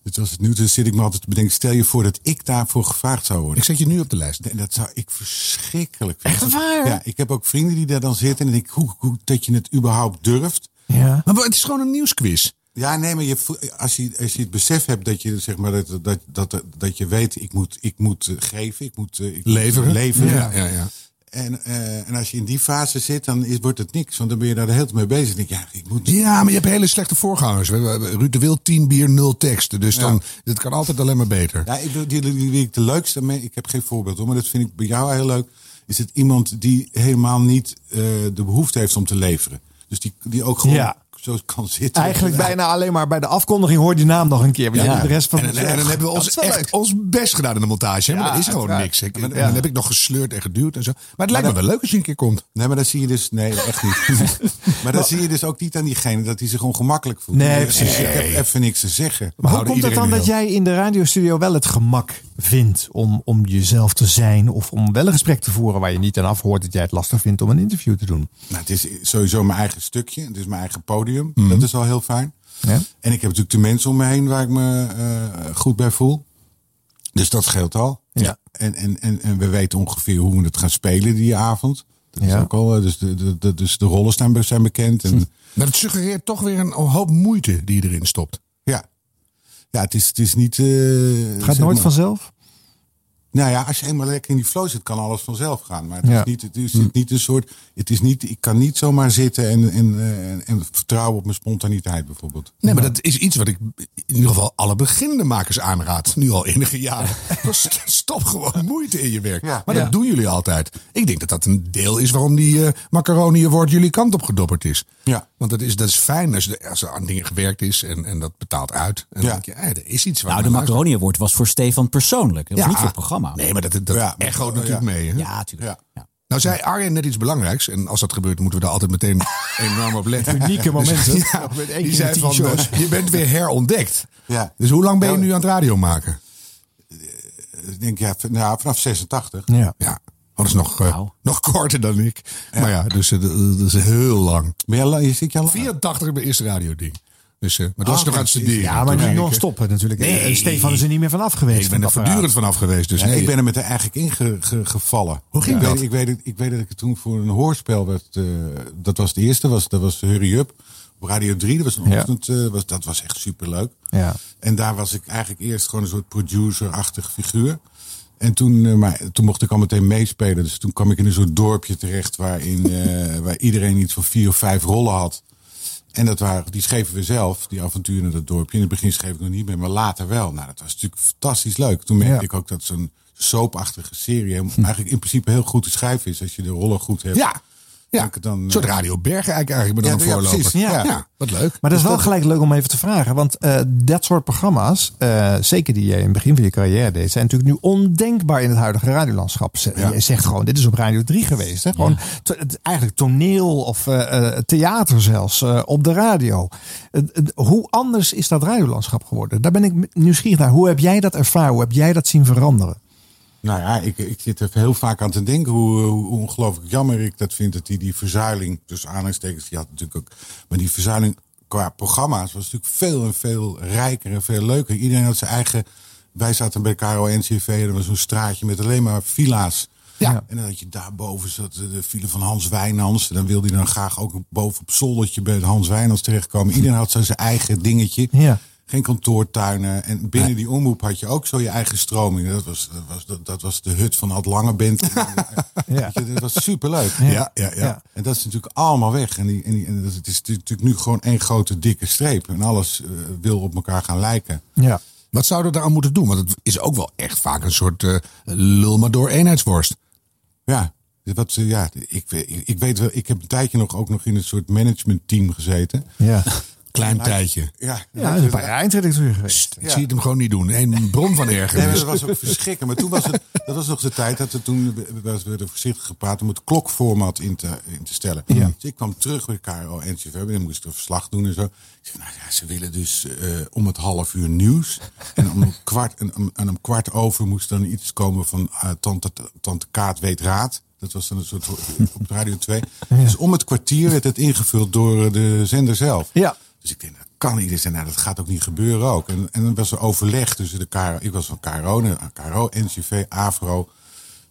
S19: Dit was het nu, dus zit ik me altijd te bedenken. Stel je voor dat ik daarvoor gevraagd zou worden. Ik
S1: zet je nu op de lijst.
S19: dat zou ik verschrikkelijk vinden.
S1: Echt waar?
S19: Ja, ik heb ook vrienden die daar dan zitten. En ik denk, hoe, hoe dat je het überhaupt durft.
S2: Ja.
S1: Maar het is gewoon een nieuwsquiz.
S19: Ja, nee, maar je, voel- als, je, als je het besef hebt dat je, zeg maar, dat, dat, dat, dat je weet, ik moet, ik moet eh, geven, ik moet, eh, ik moet
S1: Leveren.
S19: leveren.
S1: Ja, ja, ja.
S19: En, eh, en als je in die fase zit, dan is, wordt het niks. Want dan ben je daar de hele tijd mee bezig. Dan denk je, ja, ik moet
S1: Ja, maar je hebt hele slechte voorgangers. Nou, dus We hebben- Ruud de Wild, 10 bier, 0 teksten. Dus dan, dit kan altijd alleen maar beter.
S19: Ja, ik, bedoel, die, die, die ik de leukste mee, ik heb geen voorbeeld hoor, maar dat vind ik bij jou heel leuk. Is het iemand die helemaal niet eh, de behoefte heeft om te leveren? Dus die, die ook gewoon
S2: Ja.
S19: zo kan zitten.
S2: eh, Eigenlijk
S19: Ja.
S2: bijna alleen maar bij de afkondiging hoor je die naam nog een keer. want je hebt de rest van
S1: en, en, en dan hebben we ons echt ons best gedaan in de montage. hè, maar
S2: Ja,
S1: dat is gewoon
S2: uiteraard.
S1: niks. Ik,
S2: Ja.
S1: en dan heb ik nog gesleurd en geduwd en zo. Maar het lijkt me wel leuk als je een keer komt.
S19: Nee, maar dan zie je dus... Nee, echt
S2: [LAUGHS]
S19: niet. maar dan zie je dus ook niet aan diegene dat hij zich ongemakkelijk voelt.
S2: Nee,
S19: Eh,
S2: precies.
S19: Ik heb even niks te zeggen.
S2: Maar hoe komt het dan dat jij in de radiostudio wel het gemak vindt om, om jezelf te zijn of om wel een gesprek te voeren waar je niet aan afhoort dat jij het lastig vindt om een interview te doen?
S19: Nou, het is sowieso mijn eigen stukje. Het is mijn eigen podium.
S2: Mhm.
S19: Dat is al heel fijn.
S2: Ja.
S19: En ik heb natuurlijk de mensen om me heen waar ik me eh, goed bij voel. Dus dat scheelt al. Ja. En, en, en, en we weten ongeveer hoe we het gaan spelen die avond. Dat is ook al, eh, dus, de, de, de, dus de rollen staan, be- zijn bekend.
S2: [LAUGHS]
S19: En,
S1: Maar het suggereert toch weer een hoop moeite die je erin stopt.
S19: Ja. Ja, het is, het is niet... eh, het
S2: gaat nooit vanzelf?
S19: Nou ja, als je eenmaal lekker in die flow zit, kan alles vanzelf gaan. Maar het
S2: Ja.
S19: is niet, het is niet een soort... Het is niet, ik kan niet zomaar zitten en, en, eh, en, en vertrouwen op mijn spontaniteit bijvoorbeeld.
S1: Nee, maar dat is iets wat ik in ieder geval alle beginnende makers aanraad. Nu al enige
S2: [LAUGHS]
S1: jaren. St- Stop gewoon moeite in je werk. Maar dat
S2: Ja.
S1: doen jullie altijd. Ik denk dat dat een deel is waarom die eh, macaroni hier wordt jullie kant op gedopperd is.
S19: Ja.
S1: Want dat is, dat is fijn als, er- als er aan dingen gewerkt is en, en dat betaalt uit. En
S3: Ja.
S1: dan denk je, eh, er is iets waar
S3: Nou, de
S1: naar luisteren.
S3: Macaroni Award was voor Stefan persoonlijk. Dat was
S1: Ja.
S3: niet voor het programma.
S1: Nee, maar dat, dat
S3: Ja, maar-
S1: echoot natuurlijk
S3: ja.
S1: mee. Hè?
S3: Ja, tuurlijk.
S1: Nou zei Arjen net iets belangrijks. En als dat gebeurt, moeten we daar altijd
S3: [LAUGHS]
S1: meteen enorm op letten.
S2: Unieke momenten.
S1: Dus, [LAUGHS] ja,
S2: Op een één keer
S1: die zei
S2: tien
S1: van,
S2: shows.
S1: eh, je bent weer herontdekt.
S19: Ja.
S1: Dus hoe lang ben je nu aan het radio maken?
S19: Ik denk, ja, v- nou, vanaf 86.
S2: Ja.
S1: ja. Oh, dat is nog, eh, nog korter dan ik. Maar ja, dus eh, dat dat is heel lang.
S19: Ben je zit je al
S1: 84 bij eerste radioding. Dus, eh, maar dat
S2: Ah,
S1: was nog aan het
S2: precies.
S1: studeren.
S2: Ja, maar
S1: Toen
S2: nu
S1: ik,
S2: nog
S1: eh,
S2: stoppen natuurlijk.
S1: Nee.
S2: Eh, Stefan is er niet meer vanaf geweest.
S1: Ik ben er
S2: van dat
S1: voortdurend
S2: verhaal.
S1: vanaf geweest. Dus
S19: Ja,
S1: nee,
S19: ik ben er met er eigenlijk in ge- ge- gevallen. Hoe
S1: ging dat?
S19: Ik weet, ik weet dat ik toen voor een hoorspel werd. eh, dat was de eerste, was, dat was Hurry Up. Op Radio 3, dat was een
S2: Ja.
S19: ochtend. eh, was, dat was echt superleuk.
S2: Ja.
S19: En daar was ik eigenlijk eerst gewoon een soort producer-achtig figuur. En toen, eh, maar toen mocht ik al meteen meespelen. Dus toen kwam ik in een soort dorpje terecht waarin, eh, waar iedereen iets van vier of vijf rollen had. En dat waren, die schreven we zelf, die avonturen in dat dorpje. In het begin schreef ik nog niet meer, maar later wel. Nou, dat was natuurlijk fantastisch leuk. Toen merkte
S2: Ja.
S19: ik ook dat zo'n soapachtige serie hem- eigenlijk in principe heel goed te schrijven is. Als je de rollen goed hebt.
S1: Ja.
S19: ja. Dan,
S1: Een soort
S19: eh,
S1: Radio Bergen eigenlijk, eigenlijk
S19: Ja,
S1: maar dan een
S19: ja,
S1: voorloper.
S19: precies. Ja.
S1: wat leuk.
S2: Maar dat is wel
S1: Dus
S2: gelijk leuk om even te vragen. Want eh, dat soort programma's, eh, zeker die je in het begin van je carrière deed, zijn natuurlijk nu ondenkbaar in het huidige radiolandschap. Z-
S1: Ja.
S2: Je zegt gewoon, dit is op Radio 3 geweest. Hè? Gewoon to- het- eigenlijk toneel of eh, eh, theater zelfs eh, op de radio. Het- het- hoe anders is dat radiolandschap geworden? Daar ben ik nieuwsgierig naar. Hoe heb jij dat ervaren? Hoe heb jij dat zien veranderen?
S19: Nou ja, ik, ik zit er heel vaak aan te denken hoe, eh, hoe ongelooflijk jammer ik dat vind. Dat die, die verzuiling, dus aanhalingstekens, die had natuurlijk ook. Maar die verzuiling qua programma's was natuurlijk veel en veel rijker en veel leuker. Iedereen had zijn eigen. Wij zaten bij KRO-NCV, en er was zo'n straatje met alleen maar villa's.
S1: Ja.
S19: En dan had je daarboven zat eh, de file van Hans Wijnands. En dan wilde hij dan graag ook boven op zoldertje bij Hans Wijnands terechtkomen. Iedereen had zo zijn eigen dingetje.
S2: Ja.
S19: Geen kantoortuinen. En binnen die omroep had je ook zo je eigen stroming. Dat was, dat was, dat, dat was de hut van Ad Langebent.
S1: [LAUGHS]
S19: Weet je, Dat was superleuk.
S1: Ja, ja, ja.
S19: En dat is natuurlijk allemaal weg. En, die, en, die, en dat, het is natuurlijk nu gewoon één grote dikke streep. En alles eh, wil op elkaar gaan lijken.
S2: Ja.
S1: Wat zouden we daaraan moeten doen? Want het is ook wel echt vaak een soort eh, lul maar door eenheidsworst.
S19: Ja, wat, eh, ja ik, weet- ik weet wel, ik heb een tijdje nog ook nog in een soort managementteam gezeten.
S2: Ja.
S1: Klein tijdje. dus-
S19: Ja,
S2: Ja, hij is een paar jaar eindredacteur geweest.
S1: Ik zie het hem gewoon niet doen. Een bron van ergernis.
S19: Nee, maar dat was
S1: [LAUGHS]
S19: ook verschrikkelijk. Maar toen was het, dat was nog de tijd dat we toen we- we werden voorzichtig gepraat om het klokformat in te, in te stellen.
S2: Ja.
S19: Dus ik kwam terug bij KRO NCV en dan moest ik een verslag doen en zo. Ik zei, nou ja, ze willen dus eh, om het half uur nieuws. En om kwart, en, om- en om kwart over moest dan iets komen van eh, tante, tante Kaat weet raad. Dat was dan een soort
S2: [LAUGHS]
S19: op Radio 2. Dus om het kwartier werd het ingevuld door eh, de zender zelf.
S2: Ja.
S19: Dus ik denk, dat kan niet. Ik zei, nou, dat gaat ook niet gebeuren ook. En, en dan was er overleg tussen de KRO. Ik was van KRO, naar KRO, NCV, AVRO,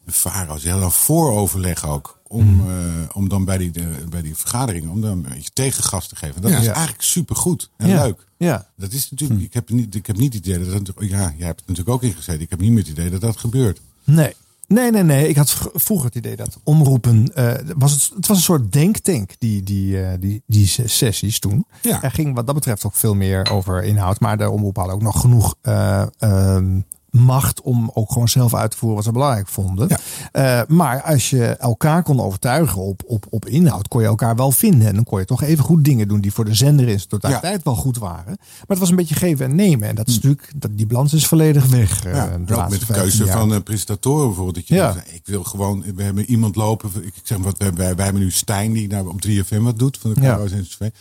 S19: de VARO. Ze hadden een vooroverleg ook. Om,
S2: Hmm.
S19: eh, om dan bij die, de- bij die vergaderingen, om dan een beetje tegengas te geven. Dat
S2: Ja.
S19: is
S2: Ja. Hmm.
S19: eigenlijk supergoed en
S2: Ja.
S19: leuk.
S2: Ja.
S19: Dat is natuurlijk, ik heb niet, ik heb niet het idee dat, dat, ja, jij hebt er natuurlijk ook ingezeten. Ik heb niet meer het idee dat dat gebeurt.
S2: Nee. Nee, nee, nee. Ik had v- vroeger het idee dat omroepen. eh, was het, het was een soort denktank, die, die, eh, die, die s- sessies toen.
S1: Ja.
S2: Er ging wat dat betreft ook veel meer over inhoud. Maar de omroep had ook nog genoeg eh, ehm, macht om ook gewoon zelf uit te voeren wat ze belangrijk vonden. Eh, maar als je elkaar kon overtuigen op, op, op inhoud, kon je elkaar wel vinden. En dan kon je toch even goed dingen doen die voor de zender in zijn totaliteit wel goed waren. Maar het was een beetje geven en nemen. En dat is natuurlijk, dat, die balans is volledig weg. eh, de
S19: Hm. Ja, en ook
S2: laatste
S19: met de
S2: 15
S19: keuze
S2: jaar.
S19: van eh, presentatoren bijvoorbeeld. Dat je
S2: Ja.
S19: denkt, ik wil gewoon, we hebben iemand lopen. Ik ik zeg maar, wat, wij, wij, wij hebben nu Stijn die nou op 3FM wat doet van de
S2: Ja.
S19: KRO's en NCV. Nou,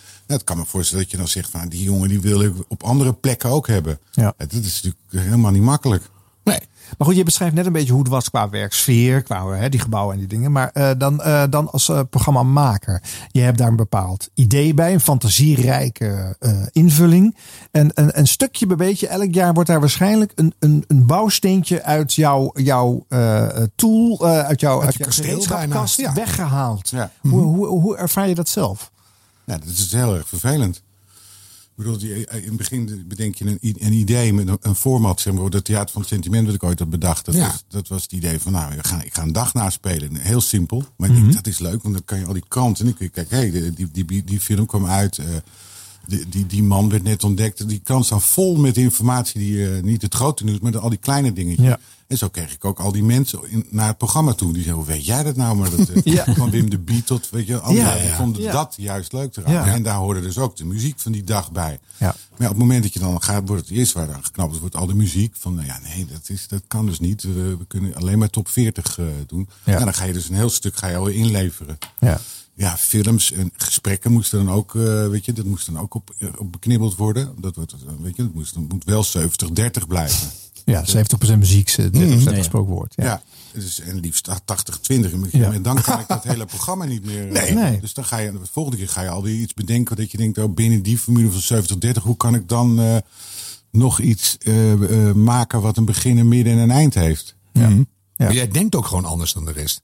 S19: het kan me voorstellen dat je dan zegt van die jongen die wil ik op andere plekken ook hebben.
S2: Ja.
S19: Dat is natuurlijk helemaal niet makkelijk.
S2: Maar goed, je beschrijft net een beetje hoe het was qua werksfeer, qua hè, die gebouwen en die dingen. Maar eh, dan, eh, dan als eh, programmamaker, je hebt daar een bepaald idee bij, een fantasierijke eh, invulling. En een, een stukje bij beetje, elk jaar wordt daar waarschijnlijk een, een, een bouwsteentje uit jouw, jouw eh, tool, eh, uit jouw, uit jouw gereedschapkast weggehaald. Hoe, hoe, hoe ervaar je dat zelf?
S19: Ja, Nou, dat is heel erg vervelend. Ik bedoel, die- eh, in het begin bedenk je een, i- een idee met een, een format. Zeg maar, dat theater van het sentiment dat ik ooit had bedacht. Dat,
S20: Ja.
S19: was, dat was het idee van, nou, ik ga, ik ga een dag naspelen. Heel simpel. Maar ik
S20: Mhm.
S19: denk, dat is leuk, want dan kan je al die kanten. En kun je kijken, hé, hey, die, die, die, die film kwam uit. eh, die, die, die man werd net ontdekt. Die kant staan vol met informatie die eh, niet het grote nieuws, maar de- al die kleine dingetjes.
S2: Ja.
S19: En zo kreeg ik ook al die mensen in- naar het programma toe. Die zeiden, hoe weet jij dat nou? Maar dat, eh,
S20: [LAUGHS] Ja.
S19: Van Wim de Bie tot, weet je, anderen
S20: Ja, ja.
S19: die vonden
S20: Ja.
S19: dat juist leuk eraan.
S20: Ja.
S19: En daar hoorde dus ook de muziek van die dag bij.
S2: Ja.
S19: Maar ja, op het moment dat je dan gaat, wordt het eerst waar aan geknapt wordt al de muziek. Van nou ja, nee, dat, is, dat kan dus niet. We, we kunnen alleen maar top 40 eh, doen.
S2: Ja.
S19: En dan ga je dus een heel stuk ga je al inleveren.
S2: Ja.
S19: Ja, films en gesprekken moesten dan ook, eh, weet je, dat moest dan ook op, op beknibbeld worden. Dat, wordt, eh, weet je, dat moest, dat moet wel 70-30 blijven.
S2: Ja, 70% muziek, 30% gesproken woord.
S19: Mhm. Ja. Dus, en liefst 80-20.
S2: Ja.
S19: En dan kan ik
S2: [LAUGHS]
S19: dat hele programma niet meer. eh,
S2: Nee. Nee.
S19: Dus dan ga je de volgende keer ga je alweer iets bedenken dat je denkt, oh, binnen die formule van 70-30, hoe kan ik dan eh, nog iets eh, eh, maken wat een begin, een midden en een eind heeft?
S1: Mhm.
S19: Ja.
S1: Maar jij denkt ook gewoon anders dan de rest.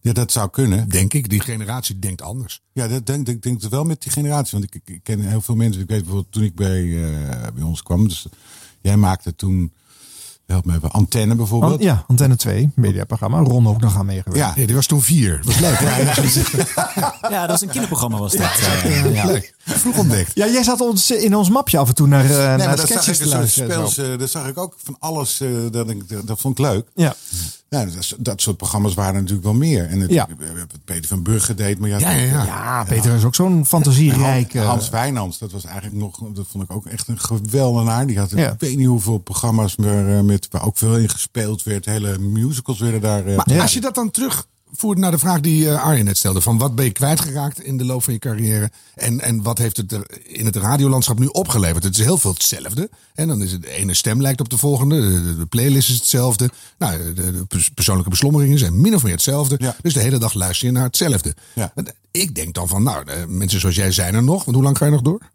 S19: Ja, dat zou kunnen.
S1: Denk ik. Die generatie denkt anders.
S19: Ja, dat denk ik denk het wel met die generatie. Want ik- ik, ik ken heel veel mensen. Ik weet bijvoorbeeld toen ik bij, eh, bij ons kwam. Dus jij maakte toen, help me even, antenne bijvoorbeeld.
S2: An- Oh, ja, Antenne 2, mediaprogramma. Ron ook nog aan meegewerkt.
S19: Ja.
S1: die was toen vier. Was leuk.
S2: Ja,
S3: Ja, dat was een kinderprogramma was dat.
S2: Ja,
S3: Eh, ja.
S1: Leuk. Vroeg ontdekt.
S2: Ja, jij zat ons in ons mapje af en toe naar, eh
S19: nee,
S2: naar
S19: maar daar zag,
S2: sketches te
S19: ik een soort
S2: luisteren. en zo.
S19: spels, eh, daar zag ik ook van alles. eh, dat, ik, dat, dat vond ik leuk.
S2: Ja.
S19: Ja, dat, dat soort programma's waren er natuurlijk wel meer. En het,
S2: Ja.
S19: wat Peter van Brugge deed. Maar eh, ja,
S2: Ja, ja, ja. Ja, Peter is ook zo'n fantasierijk,
S19: En Hans,
S2: eh,
S19: Hans Wijnands, dat was eigenlijk nog, dat vond ik ook echt een geweldenaar. Die had,
S2: Ja.
S19: ik weet niet hoeveel programma's meer, eh, met, waar ook veel in gespeeld werd. Hele musicals werden daar. eh,
S1: Maar als je dat dan terugvoert naar de vraag die eh, Arjen net stelde. Van wat ben je kwijtgeraakt in de loop van je carrière? En, en wat heeft het er in het radiolandschap nu opgeleverd? Het is heel veel hetzelfde. En dan is het de ene stem lijkt op de volgende. De, de- de playlist is hetzelfde. Nou, de, de pers- persoonlijke beslommeringen zijn min of meer hetzelfde. Dus de hele dag luister je naar hetzelfde. En Ik denk dan van, nou, eh, mensen zoals jij zijn er nog. Want hoe lang ga je nog door?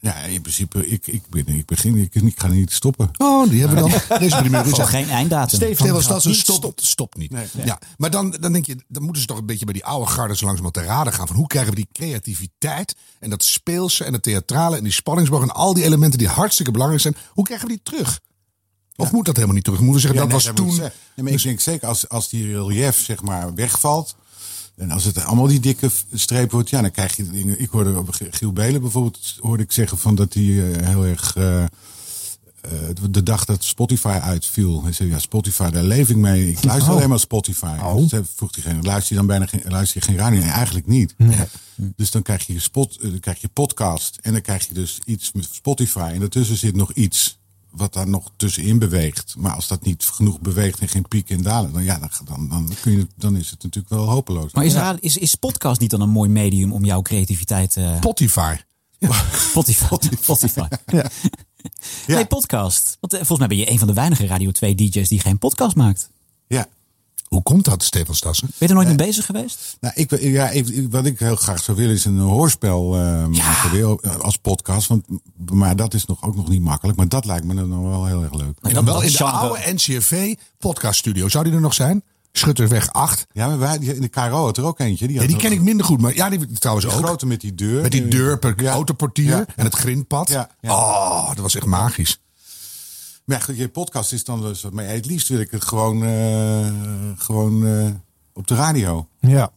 S19: Ja, in principe, ik, ik, ben, ik begin, ik, ik ga niet stoppen.
S1: Oh, die hebben we
S19: [LAUGHS]
S1: dan. Deze primeur is
S19: Gewoon
S1: echt-
S19: geen einddatum.
S1: Stefan,
S19: Stefan
S1: was
S19: gaat
S1: dat zo
S19: niet
S1: stopt,
S19: stoppen.
S1: stopt niet.
S19: Nee. Nee.
S1: Ja, maar dan, dan denk je, dan moeten ze toch een beetje bij die oude garden zo langzamerhand te raden gaan. Van hoe krijgen we die creativiteit en dat speelse en het theatrale en die spanningsboog en al die elementen die hartstikke belangrijk zijn. Hoe krijgen we die terug? Of moet dat helemaal niet terug? Moeten we zeggen,
S19: Ja,
S1: dat
S19: nee,
S1: was
S19: moet
S1: toen... Dus-
S19: zeggen. Nee, maar ik denk zeker als, als die relief zeg maar wegvalt. En als het allemaal die dikke v- streep wordt, ja, dan krijg je dingen. Ik hoorde op G- Giel Belen bijvoorbeeld, hoorde ik zeggen van dat hij eh, heel erg. eh, eh, de- de dag dat Spotify uitviel. Hij zei, ja, Spotify, daar leef ik mee. Ik luister
S20: Oh.
S19: alleen maar Spotify.
S1: Oh.
S19: Dus hij vroeg diegene, luister je dan bijna geen, luister je geen radio? Nee, eigenlijk niet. Dus dan krijg, je spot, eh, dan krijg je podcast. En dan krijg je dus iets met Spotify. En daartussen zit nog iets wat daar nog tussenin beweegt. Maar als dat niet genoeg beweegt en geen pieken en dalen... dan, ja, dan, dan, dan, kun je, dan is het natuurlijk wel hopeloos.
S3: Maar is,
S19: Ja.
S3: ra- is, is podcast niet dan een mooi medium om jouw creativiteit... eh
S1: Spotify.
S3: [LAUGHS] Spotify. Spotify. [LAUGHS] Nee, podcast. Want eh, volgens mij ben je een van de weinige Radio 2 DJ's die geen podcast maakt.
S19: Ja.
S1: Hoe komt dat, Stefan Stassen?
S3: Ben je er nooit mee bezig
S19: [LAUGHS]
S3: geweest?
S19: Nou, ik, wil- ja, ik- ik- wat ik heel graag zou willen is een hoorspel eh, maken wil, eh, als podcast. Want, maar dat is nog, ook nog niet makkelijk. Maar dat lijkt me dan wel heel erg leuk.
S1: En dan wel in de oude NCRV podcaststudio. Zou die er nog zijn? Schutterweg 8.
S19: Ja, maar wij, die- in de KRO had er ook eentje. Die,
S1: Ja,
S19: had
S1: die
S19: ook-
S1: ken ik minder goed. Maar ja, die trouwens
S19: Die
S1: ook.
S19: grote met die deur.
S1: Met die deur per autoportier
S19: Ja.
S1: en het grindpad. Oh, dat was echt magisch.
S19: Maar ja, goed, je podcast is dan dus wat mee. Het liefst wil ik het gewoon, eh, gewoon eh, op de radio.
S2: Ja.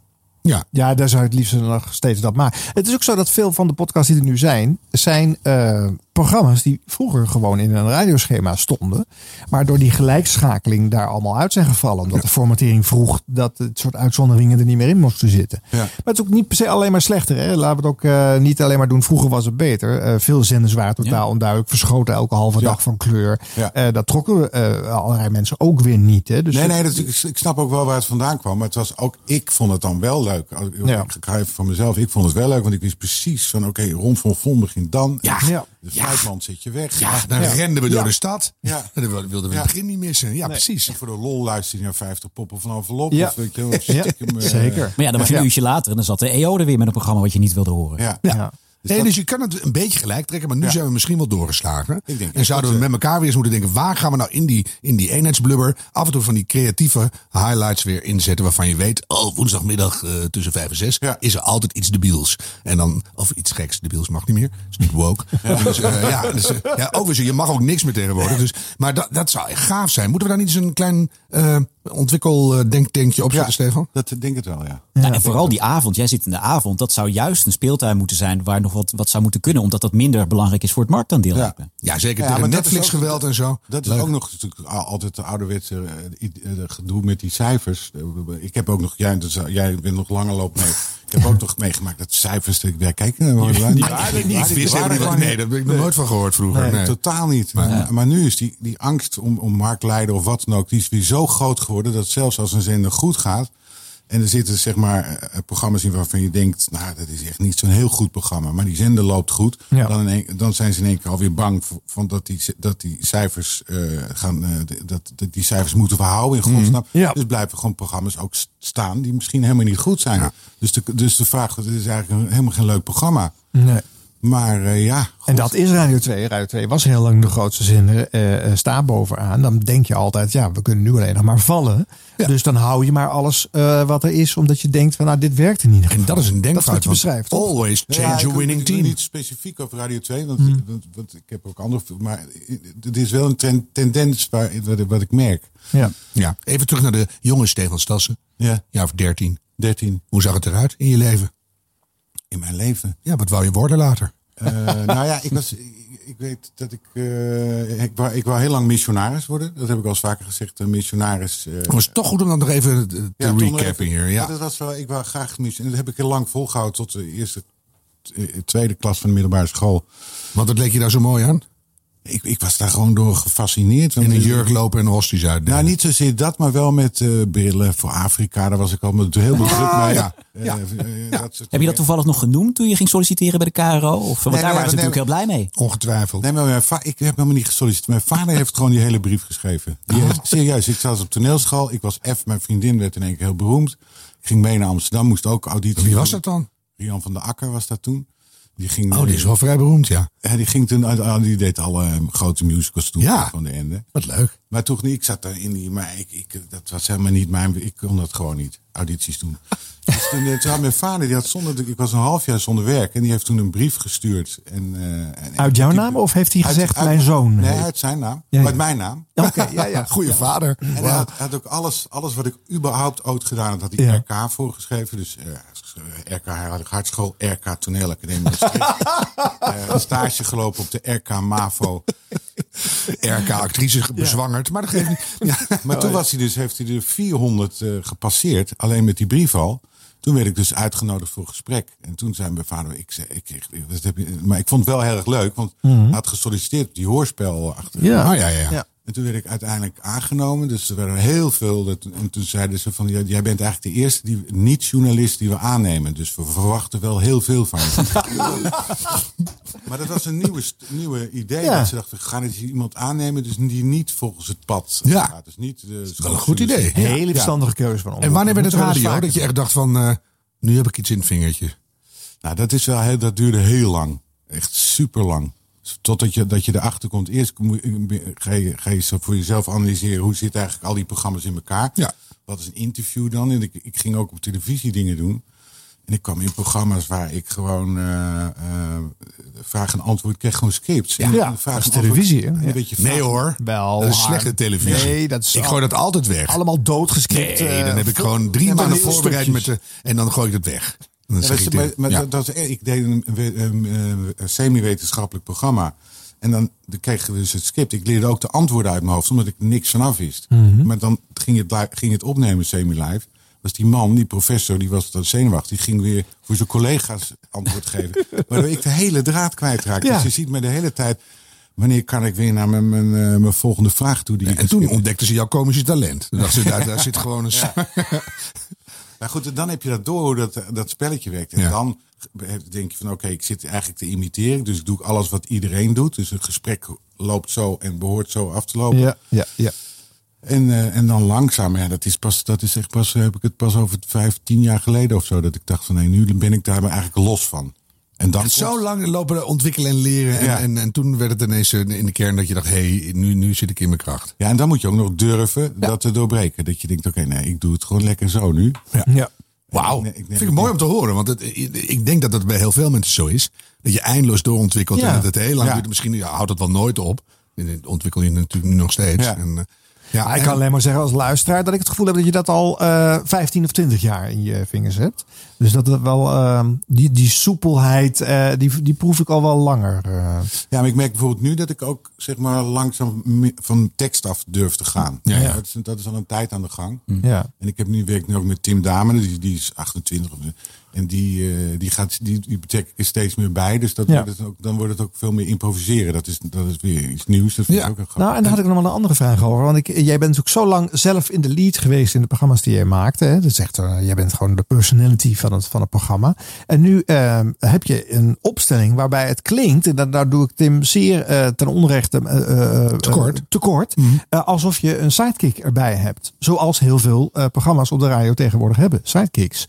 S1: Ja.
S2: ja, daar zou ik het liefst nog steeds dat maken. Het is ook zo dat veel van de podcasts die er nu zijn, zijn eh, programma's die vroeger gewoon in een radioschema stonden. Maar door die gelijkschakeling daar allemaal uit zijn gevallen. Omdat de formatering vroeg dat het soort uitzonderingen er niet meer in moesten zitten.
S19: Ja.
S2: Maar het is ook niet per se alleen maar slechter. Hè? Laten we het ook eh, niet alleen maar doen. Vroeger was het beter. Eh, veel zenders waren totaal onduidelijk. Verschoten elke halve dag van kleur. Eh, dat trokken we, eh, allerlei mensen ook weer niet. Hè? Dus
S19: nee, nee, dat, ik, ik snap ook wel waar het vandaan kwam. Maar het was ook, ik vond het dan wel leuk. Oh, Ik, ik ga even van mezelf. Ik vond het wel leuk, want ik wist precies van, oké, Ron van Von begint dan. Ja. De fluitmand zit je weg.
S1: Ja, dan renden we door de stad.
S19: Ja.
S1: [LAUGHS] Dan wilden we het begin niet missen. Ja,
S19: Nee.
S1: precies.
S19: En voor de lol luister je naar 50 poppen van envelop.
S1: Ja.
S19: Of weet je wel, stiekem, eh,
S3: Maar ja, dan was je een uurtje later en dan zat de EO er weer met een programma wat je niet wilde horen.
S19: Ja.
S1: nee, dus je kan het een beetje gelijk trekken, maar nu zijn we misschien wel doorgeslagen.
S19: Ik denk eh,
S1: en zouden we met elkaar weer eens moeten denken, waar gaan we nou in die, in die eenheidsblubber af en toe van die creatieve highlights weer inzetten waarvan je weet, oh, woensdagmiddag eh, tussen vijf en zes is er altijd iets debiels. En dan, of iets geks, debiels mag niet meer, is niet woke.
S19: Ja.
S1: Dus, eh, ja, dus, eh, ja, ook weer zo, je mag ook niks meer tegenwoordig. Dus, maar dat, dat zou echt gaaf zijn. Moeten we daar niet eens een klein eh ontwikkeldenktankje op zetten, Stefan?
S19: Dat denk ik wel, ja.
S3: Ja, en vooral die avond. Jij zit in de avond. Dat zou juist een speeltuin moeten zijn waar nog wat, wat zou moeten kunnen. Omdat dat minder belangrijk is voor het marktaandeel. lijkt me.
S1: Ja, zeker tegen
S19: maar dat is
S1: Netflix-geweld
S19: ook-
S1: en zo.
S19: Dat is
S1: Leuk.
S19: ook nog natuurlijk al- altijd de ouderwetse eh, i- eh, gedoe met die cijfers. Eh, Ik heb ook nog, jij, dus, eh, jij bent nog langer loop mee. Ik heb ook nog meegemaakt dat cijfers, dat ik daar kijk. eh, waar- waar-
S1: Die
S19: waar-
S1: waren
S19: waar-
S1: niet.
S19: die
S1: Ik wist
S19: waren
S1: helemaal niet
S19: gewoon
S1: wat- nee, daar heb ik nog nooit van gehoord vroeger, nee.
S19: Totaal niet. Maar, maar nu is die, die angst om, om marktleider of wat dan ook, die is weer zo groot geworden dat zelfs als een zender goed gaat. En er zitten zeg maar eh, programma's in waarvan je denkt, nou dat is echt niet zo'n heel goed programma. Maar die zender loopt goed.
S20: Ja.
S19: Dan, in één- dan zijn ze in één keer alweer bang voor- van dat, die, dat die cijfers eh, gaan, eh, dat, dat die cijfers moeten verhouden in godsnaam. Dus blijven gewoon programma's ook s- staan die misschien helemaal niet goed zijn. Dus, de, dus de vraag, het is eigenlijk een- helemaal geen leuk programma.
S2: Nee.
S19: Maar eh, ja,
S2: En dat is Radio 2. Radio 2 was heel lang de grootste zender. eh, eh, staat bovenaan. Dan denk je altijd, ja, we kunnen nu alleen nog maar vallen. Dus dan hou je maar alles eh, wat er is. Omdat je denkt, van, nou, dit werkt in ieder geval. En
S1: dat is een
S2: Dat is wat je beschrijft. toch?
S19: Ja, ik- ik doe Niet specifiek over Radio 2, want, want, want ik heb ook andere. Maar het is wel een tren- tendens waar, wat, ik- wat ik merk.
S2: Ja.
S1: ja. Even terug naar de jonge Stefan Stassen.
S19: Ja.
S1: Ja, of 13.
S19: 13.
S1: Hoe zag het eruit in je leven?
S19: In mijn leven?
S1: Ja, wat wou je worden later?
S19: Eh, [LAUGHS] nou ja, ik, was, ik, ik weet dat ik. eh, ik, wou, ik wou heel lang missionaris worden. Dat heb ik al eens vaker gezegd. Een missionaris. eh,
S1: [LAUGHS] Het was toch goed om dan nog even eh, te
S19: Ja, Tom nog even.
S1: recappen hier. Ja.
S19: Dat was wel, ik wou graag mis. En dat heb ik heel lang volgehouden tot de eerste, eh, tweede klas van de middelbare school.
S1: Want dat leek je daar zo mooi aan?
S19: Ik, ik was daar gewoon door gefascineerd.
S1: In een jurk lopen en hosties uit.
S19: Nou, niet zozeer dat, maar wel met eh, brillen voor Afrika. Daar was ik al met heel druk
S3: Ah,
S19: mee.
S3: ja.
S19: Eh,
S3: Ja.
S19: eh, dat soort
S3: Heb je dat toevallig nog genoemd toen je ging solliciteren bij de KRO? Of, want daar
S19: Nee, nee,
S3: waren ze
S19: nee,
S3: natuurlijk heel blij mee.
S1: Ongetwijfeld.
S19: Nee, maar mijn va- ik heb helemaal niet gesolliciteerd. Mijn vader heeft gewoon die hele brief geschreven.
S3: Oh.
S19: Die heeft- serieus, ik zat op toneelschool. Ik was F, mijn vriendin werd in één keer heel beroemd. Ik ging mee naar Amsterdam, moest ook auditie.
S1: Wie was dat dan?
S19: Rian van der Akker was dat toen. Die ging,
S1: Oh, die is wel vrij beroemd, ja.
S19: En die ging toen, ah, die deed alle eh, grote musicals toen
S1: Ja.
S19: van de ende.
S1: Wat leuk.
S19: Maar toch niet, ik zat daar in die, maar ik, ik, dat was helemaal niet mijn, ik kon dat gewoon niet, audities
S2: [LAUGHS]
S19: doen. dus toen, eh, toen had mijn vader, die had zonder, ik was een half jaar zonder werk en die heeft toen een brief gestuurd. En, eh, en-
S2: Uit jouw naam? Of heeft hij gezegd, mijn zoon?
S19: Nee,
S2: heet?
S19: uit zijn naam.
S2: Ja, ja.
S19: Uit mijn naam. [LAUGHS]
S2: Oké, ja, [LAUGHS] ja.
S1: [LAUGHS] Goeie vader.
S19: En hij
S1: Wauw.
S19: had, had ook alles, alles wat ik überhaupt ooit gedaan had, had hij
S1: Ja.
S19: RK voorgeschreven. Dus eh RK Herhalig Hartschool, RK Toneelacademie.
S1: [LAUGHS]
S19: Eh, een stage gelopen op de RK
S1: [LAUGHS]
S19: MAVO.
S1: RK-actrice bezwangerd, maar dat geeft [LAUGHS] niet.
S19: Maar
S1: Oh,
S19: toen was hij dus, heeft hij er 400 eh, gepasseerd, alleen met die brief al. Toen werd ik dus uitgenodigd voor een gesprek. En toen zei mijn vader, ik zei, ik, kreeg- ik- wat heb je, maar ik vond het wel heel erg leuk, want
S1: Mhm.
S19: hij had gesolliciteerd op die hoorspel achter.
S1: Ja. Oh, ja, ja, ja. Ja.
S19: En toen werd ik uiteindelijk aangenomen. Dus er werden heel veel. dat- En toen zeiden ze van, jij jij bent eigenlijk de eerste die, niet-journalist die we aannemen. Dus we verwachten wel heel veel van
S1: [LAUGHS]
S19: je. Maar dat was een nieuwe, st- nieuwe idee.
S1: Ja.
S19: Dat ze dachten, we gaan eens iemand aannemen dus die niet volgens het pad
S1: Ja.
S19: gaat. Dus niet de
S1: Wel een goed idee.
S19: Ja.
S2: keuze van
S1: En wanneer werd het
S19: Moeten we eens
S1: radio?
S2: dus
S1: Dat je echt dacht van, eh, nu heb ik iets in het vingertje.
S19: Nou, dat, is wel, heel- dat duurde heel lang. Echt super lang. Totdat je, dat je erachter komt. Eerst moet je- ga je, ga je zo voor jezelf analyseren hoe zitten eigenlijk al die programma's in elkaar. Wat is een interview dan? En ik, ik ging ook op televisie dingen doen. En ik kwam in programma's waar ik gewoon eh, eh, vraag en antwoord kreeg, gewoon scripts. En- en vraag en antwoord- en een beetje vraag-
S1: Nee hoor.
S2: Wel.
S1: Dat is
S2: maar-
S1: slechte televisie.
S2: Nee, dat is
S1: ik gooi dat altijd weg.
S2: Allemaal doodgescript.
S1: Nee,
S2: eh,
S1: dan heb ik
S2: voor-
S1: gewoon drie
S2: Ja, maar
S1: maanden
S2: heel
S1: voorbereid met
S2: stukjes.
S1: de, en dan gooi ik het weg. Dan
S19: Ja,
S1: zeg
S19: dat
S1: ik
S19: is- maar
S1: tegen-
S19: maar
S1: ja.
S19: dat, dat is- eh, ik deed een, we- een, eh, een semi-wetenschappelijk programma. En dan dan kreeg je dus het script. Ik leerde ook de antwoorden uit mijn hoofd, omdat ik niks vanaf wist.
S20: Mhm.
S19: Maar dan ging het, li- ging het opnemen semi-live. Was die man, die professor, die was dan zenuwachtig. Die ging weer voor zijn collega's antwoord
S1: [LAUGHS]
S19: geven. Waardoor ik de hele draad kwijtraakte.
S1: Ja.
S19: Dus je ziet me de hele tijd... Wanneer kan ik weer naar mijn, mijn, eh, mijn volgende vraag toe? Die ik
S1: en toen
S19: geschreven- [LAUGHS]
S1: [LAUGHS] ontdekten ze jouw komische talent. Toen dachten ze, daar, daar zit gewoon een...
S19: Nou goed, dan heb je dat door hoe dat, dat spelletje werkt. En
S1: Ja.
S19: dan denk je van oké, ik zit eigenlijk te imiteren. Dus ik doe alles wat iedereen doet. Dus het gesprek loopt zo en behoort zo af te lopen.
S2: Ja, ja, ja.
S19: En, eh, en dan langzaam, ja, dat is pas, dat is echt pas, eh, heb ik het pas over vijf, tien jaar geleden of zo. Dat ik dacht van nee, nu ben ik daar maar eigenlijk los van. En dan
S1: Het zo lang lopen ontwikkelen en leren. En,
S19: Ja.
S1: en, en toen werd het ineens eh, in de kern dat je dacht: hé, hey, nu, nu zit ik in mijn kracht.
S19: Ja, en dan moet je ook nog durven dat te doorbreken. Dat je denkt, oké, nee, ik doe het gewoon lekker zo nu.
S1: Ja. Wauw.
S19: Ik neem-
S1: Vind ik mooi om te horen. Want het, ik denk dat dat bij heel veel mensen zo is. Dat je eindeloos doorontwikkelt.
S19: Ja.
S1: En dat het heel lang
S19: Ja.
S1: duurt. Misschien ja, houdt dat wel nooit op. En dit Ontwikkel je natuurlijk nu nog steeds.
S2: Ja.
S1: En, eh, ja,
S2: Maar ik
S1: en-
S2: kan alleen maar zeggen als luisteraar dat ik het gevoel heb dat je dat al eh 15 of 20 jaar in je vingers hebt. Dus dat het wel, ehm, die, die soepelheid, eh, die, die proef ik al wel langer. eh.
S19: Ja, maar ik merk bijvoorbeeld nu dat ik ook zeg maar langzaam me- van tekst af durf te gaan.
S2: Ja, ja.
S19: Dat, is, dat is al een tijd aan de gang.
S2: Ja.
S19: En ik heb nu, werk nu ook met Tim Damen, die, die is 28. of zo. En die, eh, die, gaat, die, die betrek ik er steeds meer bij. Dus dat
S2: Ja.
S19: wordt het ook, dan wordt het ook veel meer improviseren. Dat is, dat is weer iets nieuws. Dat vind ik ook heel grappig.
S2: Nou, en daar had ik nog wel een andere vraag over. Want ik, jij bent natuurlijk zo lang zelf in de lead geweest in de programma's die jij maakte. Hè? Dat zegt, eh, jij bent gewoon de personality van het, van het programma. En nu ehm, heb je een opstelling waarbij het klinkt, en daar, daar doe ik Tim zeer eh, ten onrechte eh, eh,
S1: Tekort.
S2: eh, tekort
S19: Mhm.
S2: eh, alsof je een sidekick erbij hebt. Zoals heel veel eh, programma's op de radio tegenwoordig hebben, sidekicks.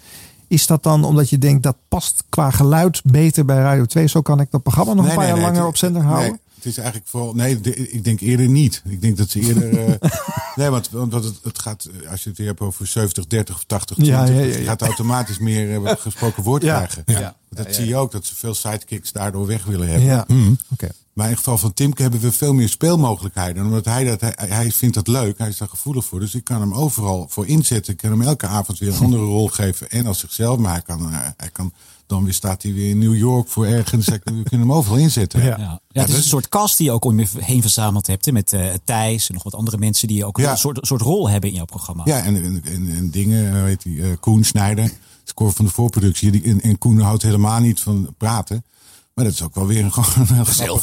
S2: Is dat dan omdat je denkt dat past qua geluid beter bij Radio 2? Zo kan ik dat programma nog
S19: Nee,
S2: een paar
S19: nee,
S2: jaar
S19: nee,
S2: langer
S19: het-
S2: op zender houden?
S19: Nee, het is eigenlijk vooral. Nee, de- ik denk eerder niet. Ik denk dat ze eerder.
S2: [LAUGHS]
S19: eh, nee, want, want wat het, het gaat. eh, Als je het weer hebt over 70, 30 of 80,
S2: Ja,
S19: 20.
S2: ja, ja,
S19: dus
S2: ja.
S19: Het gaat automatisch meer eh,
S2: [LAUGHS]
S19: wat gesproken woord
S2: Ja,
S19: krijgen.
S2: ja, ja,
S19: Dat
S2: ja,
S19: zie je ook, dat ze veel sidekicks daardoor weg willen hebben.
S2: Ja, oké.
S19: Maar in het geval van Timke hebben we veel meer speelmogelijkheden. Omdat hij dat, hij, hij vindt dat leuk, hij is daar gevoelig voor. Dus ik kan hem overal voor inzetten. Ik kan hem elke avond weer een andere rol geven. En als zichzelf, maar hij kan, eh, hij kan dan weer staat hij weer in New York voor ergens. Hij kan- We kunnen hem overal
S1: eh,
S19: inzetten. dus-
S3: Ja. Ja, het
S1: dus-
S3: is een soort cast die je ook om je heen verzameld hebt. Hè? Met eh, Thijs en nog wat andere mensen die ook
S19: Ja.
S3: een soort, soort rol hebben in jouw programma.
S19: Ja, en, en, en, en dingen, hoe heet die, eh, Koen Snijder, score van de voorproductie. Die, en, en Koen houdt helemaal niet van praten. Maar dat is ook wel weer een, [LAUGHS] gewoon een heel, grappig, eh, Heel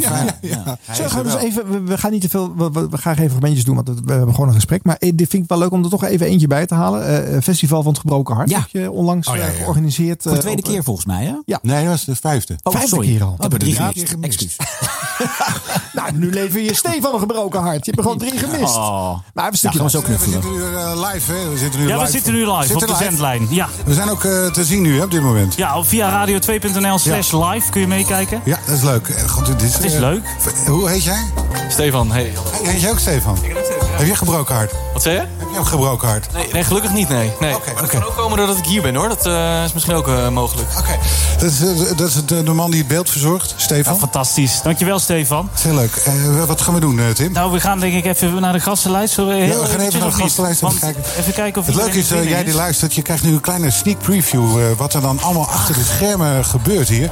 S19: fijn. Hij
S2: Zo,
S19: is
S2: gaan
S19: er
S2: we, eens
S19: wel.
S2: even, we, we gaan niet te veel. We, we, we gaan geen fragmentjes doen, want we, we hebben gewoon een gesprek. Maar eh, dit vind ik wel leuk om er toch even eentje bij te halen. Eh, Festival van het Gebroken Hart heb je onlangs
S3: Oh, ja,
S2: eh,
S3: ja.
S2: georganiseerd.
S3: Voor de
S2: eh,
S3: tweede
S2: op,
S3: keer
S2: eh,
S3: volgens mij, hè?
S2: Ja.
S19: Nee, dat was de vijfde.
S2: Oh, Vijfde sorry. keer al.
S3: We hebben
S2: Drie
S3: drie
S2: keer
S3: gemist. Excuus.
S2: [LAUGHS] Nou, nu leven je Stefan van een gebroken hart. Je hebt er gewoon drie gemist. Maar we
S1: Ja, gaan
S2: zitten
S1: we ze ook
S19: Oh. We zitten nu eh, live, hè? We zitten nu
S21: Ja,
S19: live.
S21: we zitten nu live op
S19: Zitten
S21: de zendlijn. Ja.
S19: We zijn ook eh, te zien nu hè, op dit moment.
S21: Ja, op via radio2.nl slash live kun je meekijken.
S19: Ja, dat is leuk. Eh, God, dit
S21: Het is
S19: eh,
S21: leuk.
S19: v- Hoe heet jij?
S11: Stefan, hey.
S19: Hey, Heet jij ook Stefan? Heb je gebroken hart?
S11: Wat zei je?
S19: Heb je ook gebroken hart?
S11: Nee, nee, gelukkig niet, nee. nee. Maar dat kan ook komen doordat ik hier ben, hoor. Dat eh, is misschien ook eh, mogelijk. Oké.
S19: Dat is, eh, dat is het, eh, de man die het beeld verzorgt, Stefan.
S21: fantastisch. Dankjewel, Stefan.
S19: Heel leuk. Eh, wat gaan we doen, eh, Tim?
S21: Nou, we gaan denk ik even naar de gastenlijst. Zullen
S19: Ja,
S21: heel
S19: we gaan
S21: eventjes
S19: even naar de
S21: of niet?
S19: gastenlijst even
S21: Want
S19: kijken.
S21: Even kijken of
S19: Het leuke
S21: iedereen
S19: is,
S21: er
S19: eh,
S21: zin in
S19: jij die
S21: is.
S19: luistert, je krijgt nu een kleine sneak preview... eh, wat er dan allemaal achter de schermen gebeurt hier.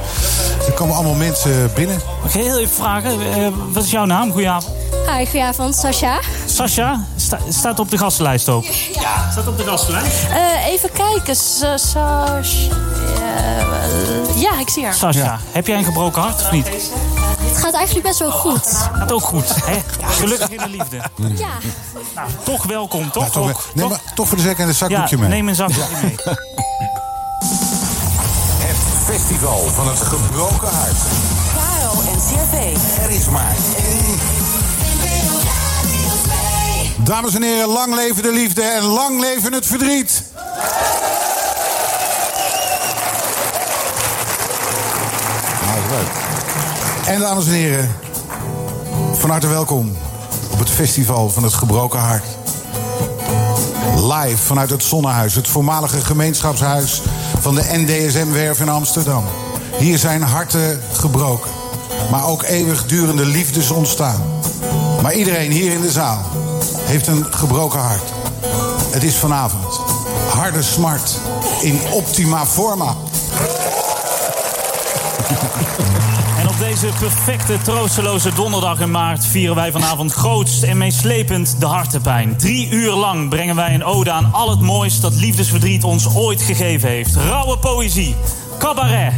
S19: Er komen allemaal mensen binnen.
S21: Mag ik heel even vragen? Eh, wat is jouw naam? Goedenavond.
S22: Hi, goedenavond, Sascha.
S21: Sascha sta- staat op de gastenlijst ook. Ja. Staat op de gastenlijst.
S22: Eh, even kijken, Sa- Sascha. eh, ja, ik zie haar.
S21: Sascha, heb jij een gebroken hart of niet?
S22: Het gaat eigenlijk best wel goed.
S21: Gaat ook goed, hè? Gelukkig in de liefde.
S22: Ja.
S21: Nou, toch welkom, toch?
S19: toch wel-
S21: Ook-
S19: neem maar- toch voor de zekerheid een zakdoekje
S21: ja,
S19: mee.
S21: neem een zakdoekje mee.
S4: Het festival van het gebroken hart.
S23: Caro en CRV.
S4: Er is maar één.
S19: Dames en heren, lang leven de liefde en lang leven het verdriet. Nou, dat is leuk. En dames en heren, van harte welkom op het festival van het gebroken hart. Live vanuit het Zonnehuis, het voormalige gemeenschapshuis van de NDSM-werf in Amsterdam. Hier zijn harten gebroken, maar ook eeuwigdurende liefdes ontstaan. Maar iedereen hier in de zaal heeft een gebroken hart. Het is vanavond harde smart in optima forma.
S21: En op deze perfecte, troosteloze donderdag in maart vieren wij vanavond grootst en meeslepend de hartepijn. Drie uur lang brengen wij een ode aan al het moois dat liefdesverdriet ons ooit gegeven heeft. Rauwe poëzie, cabaret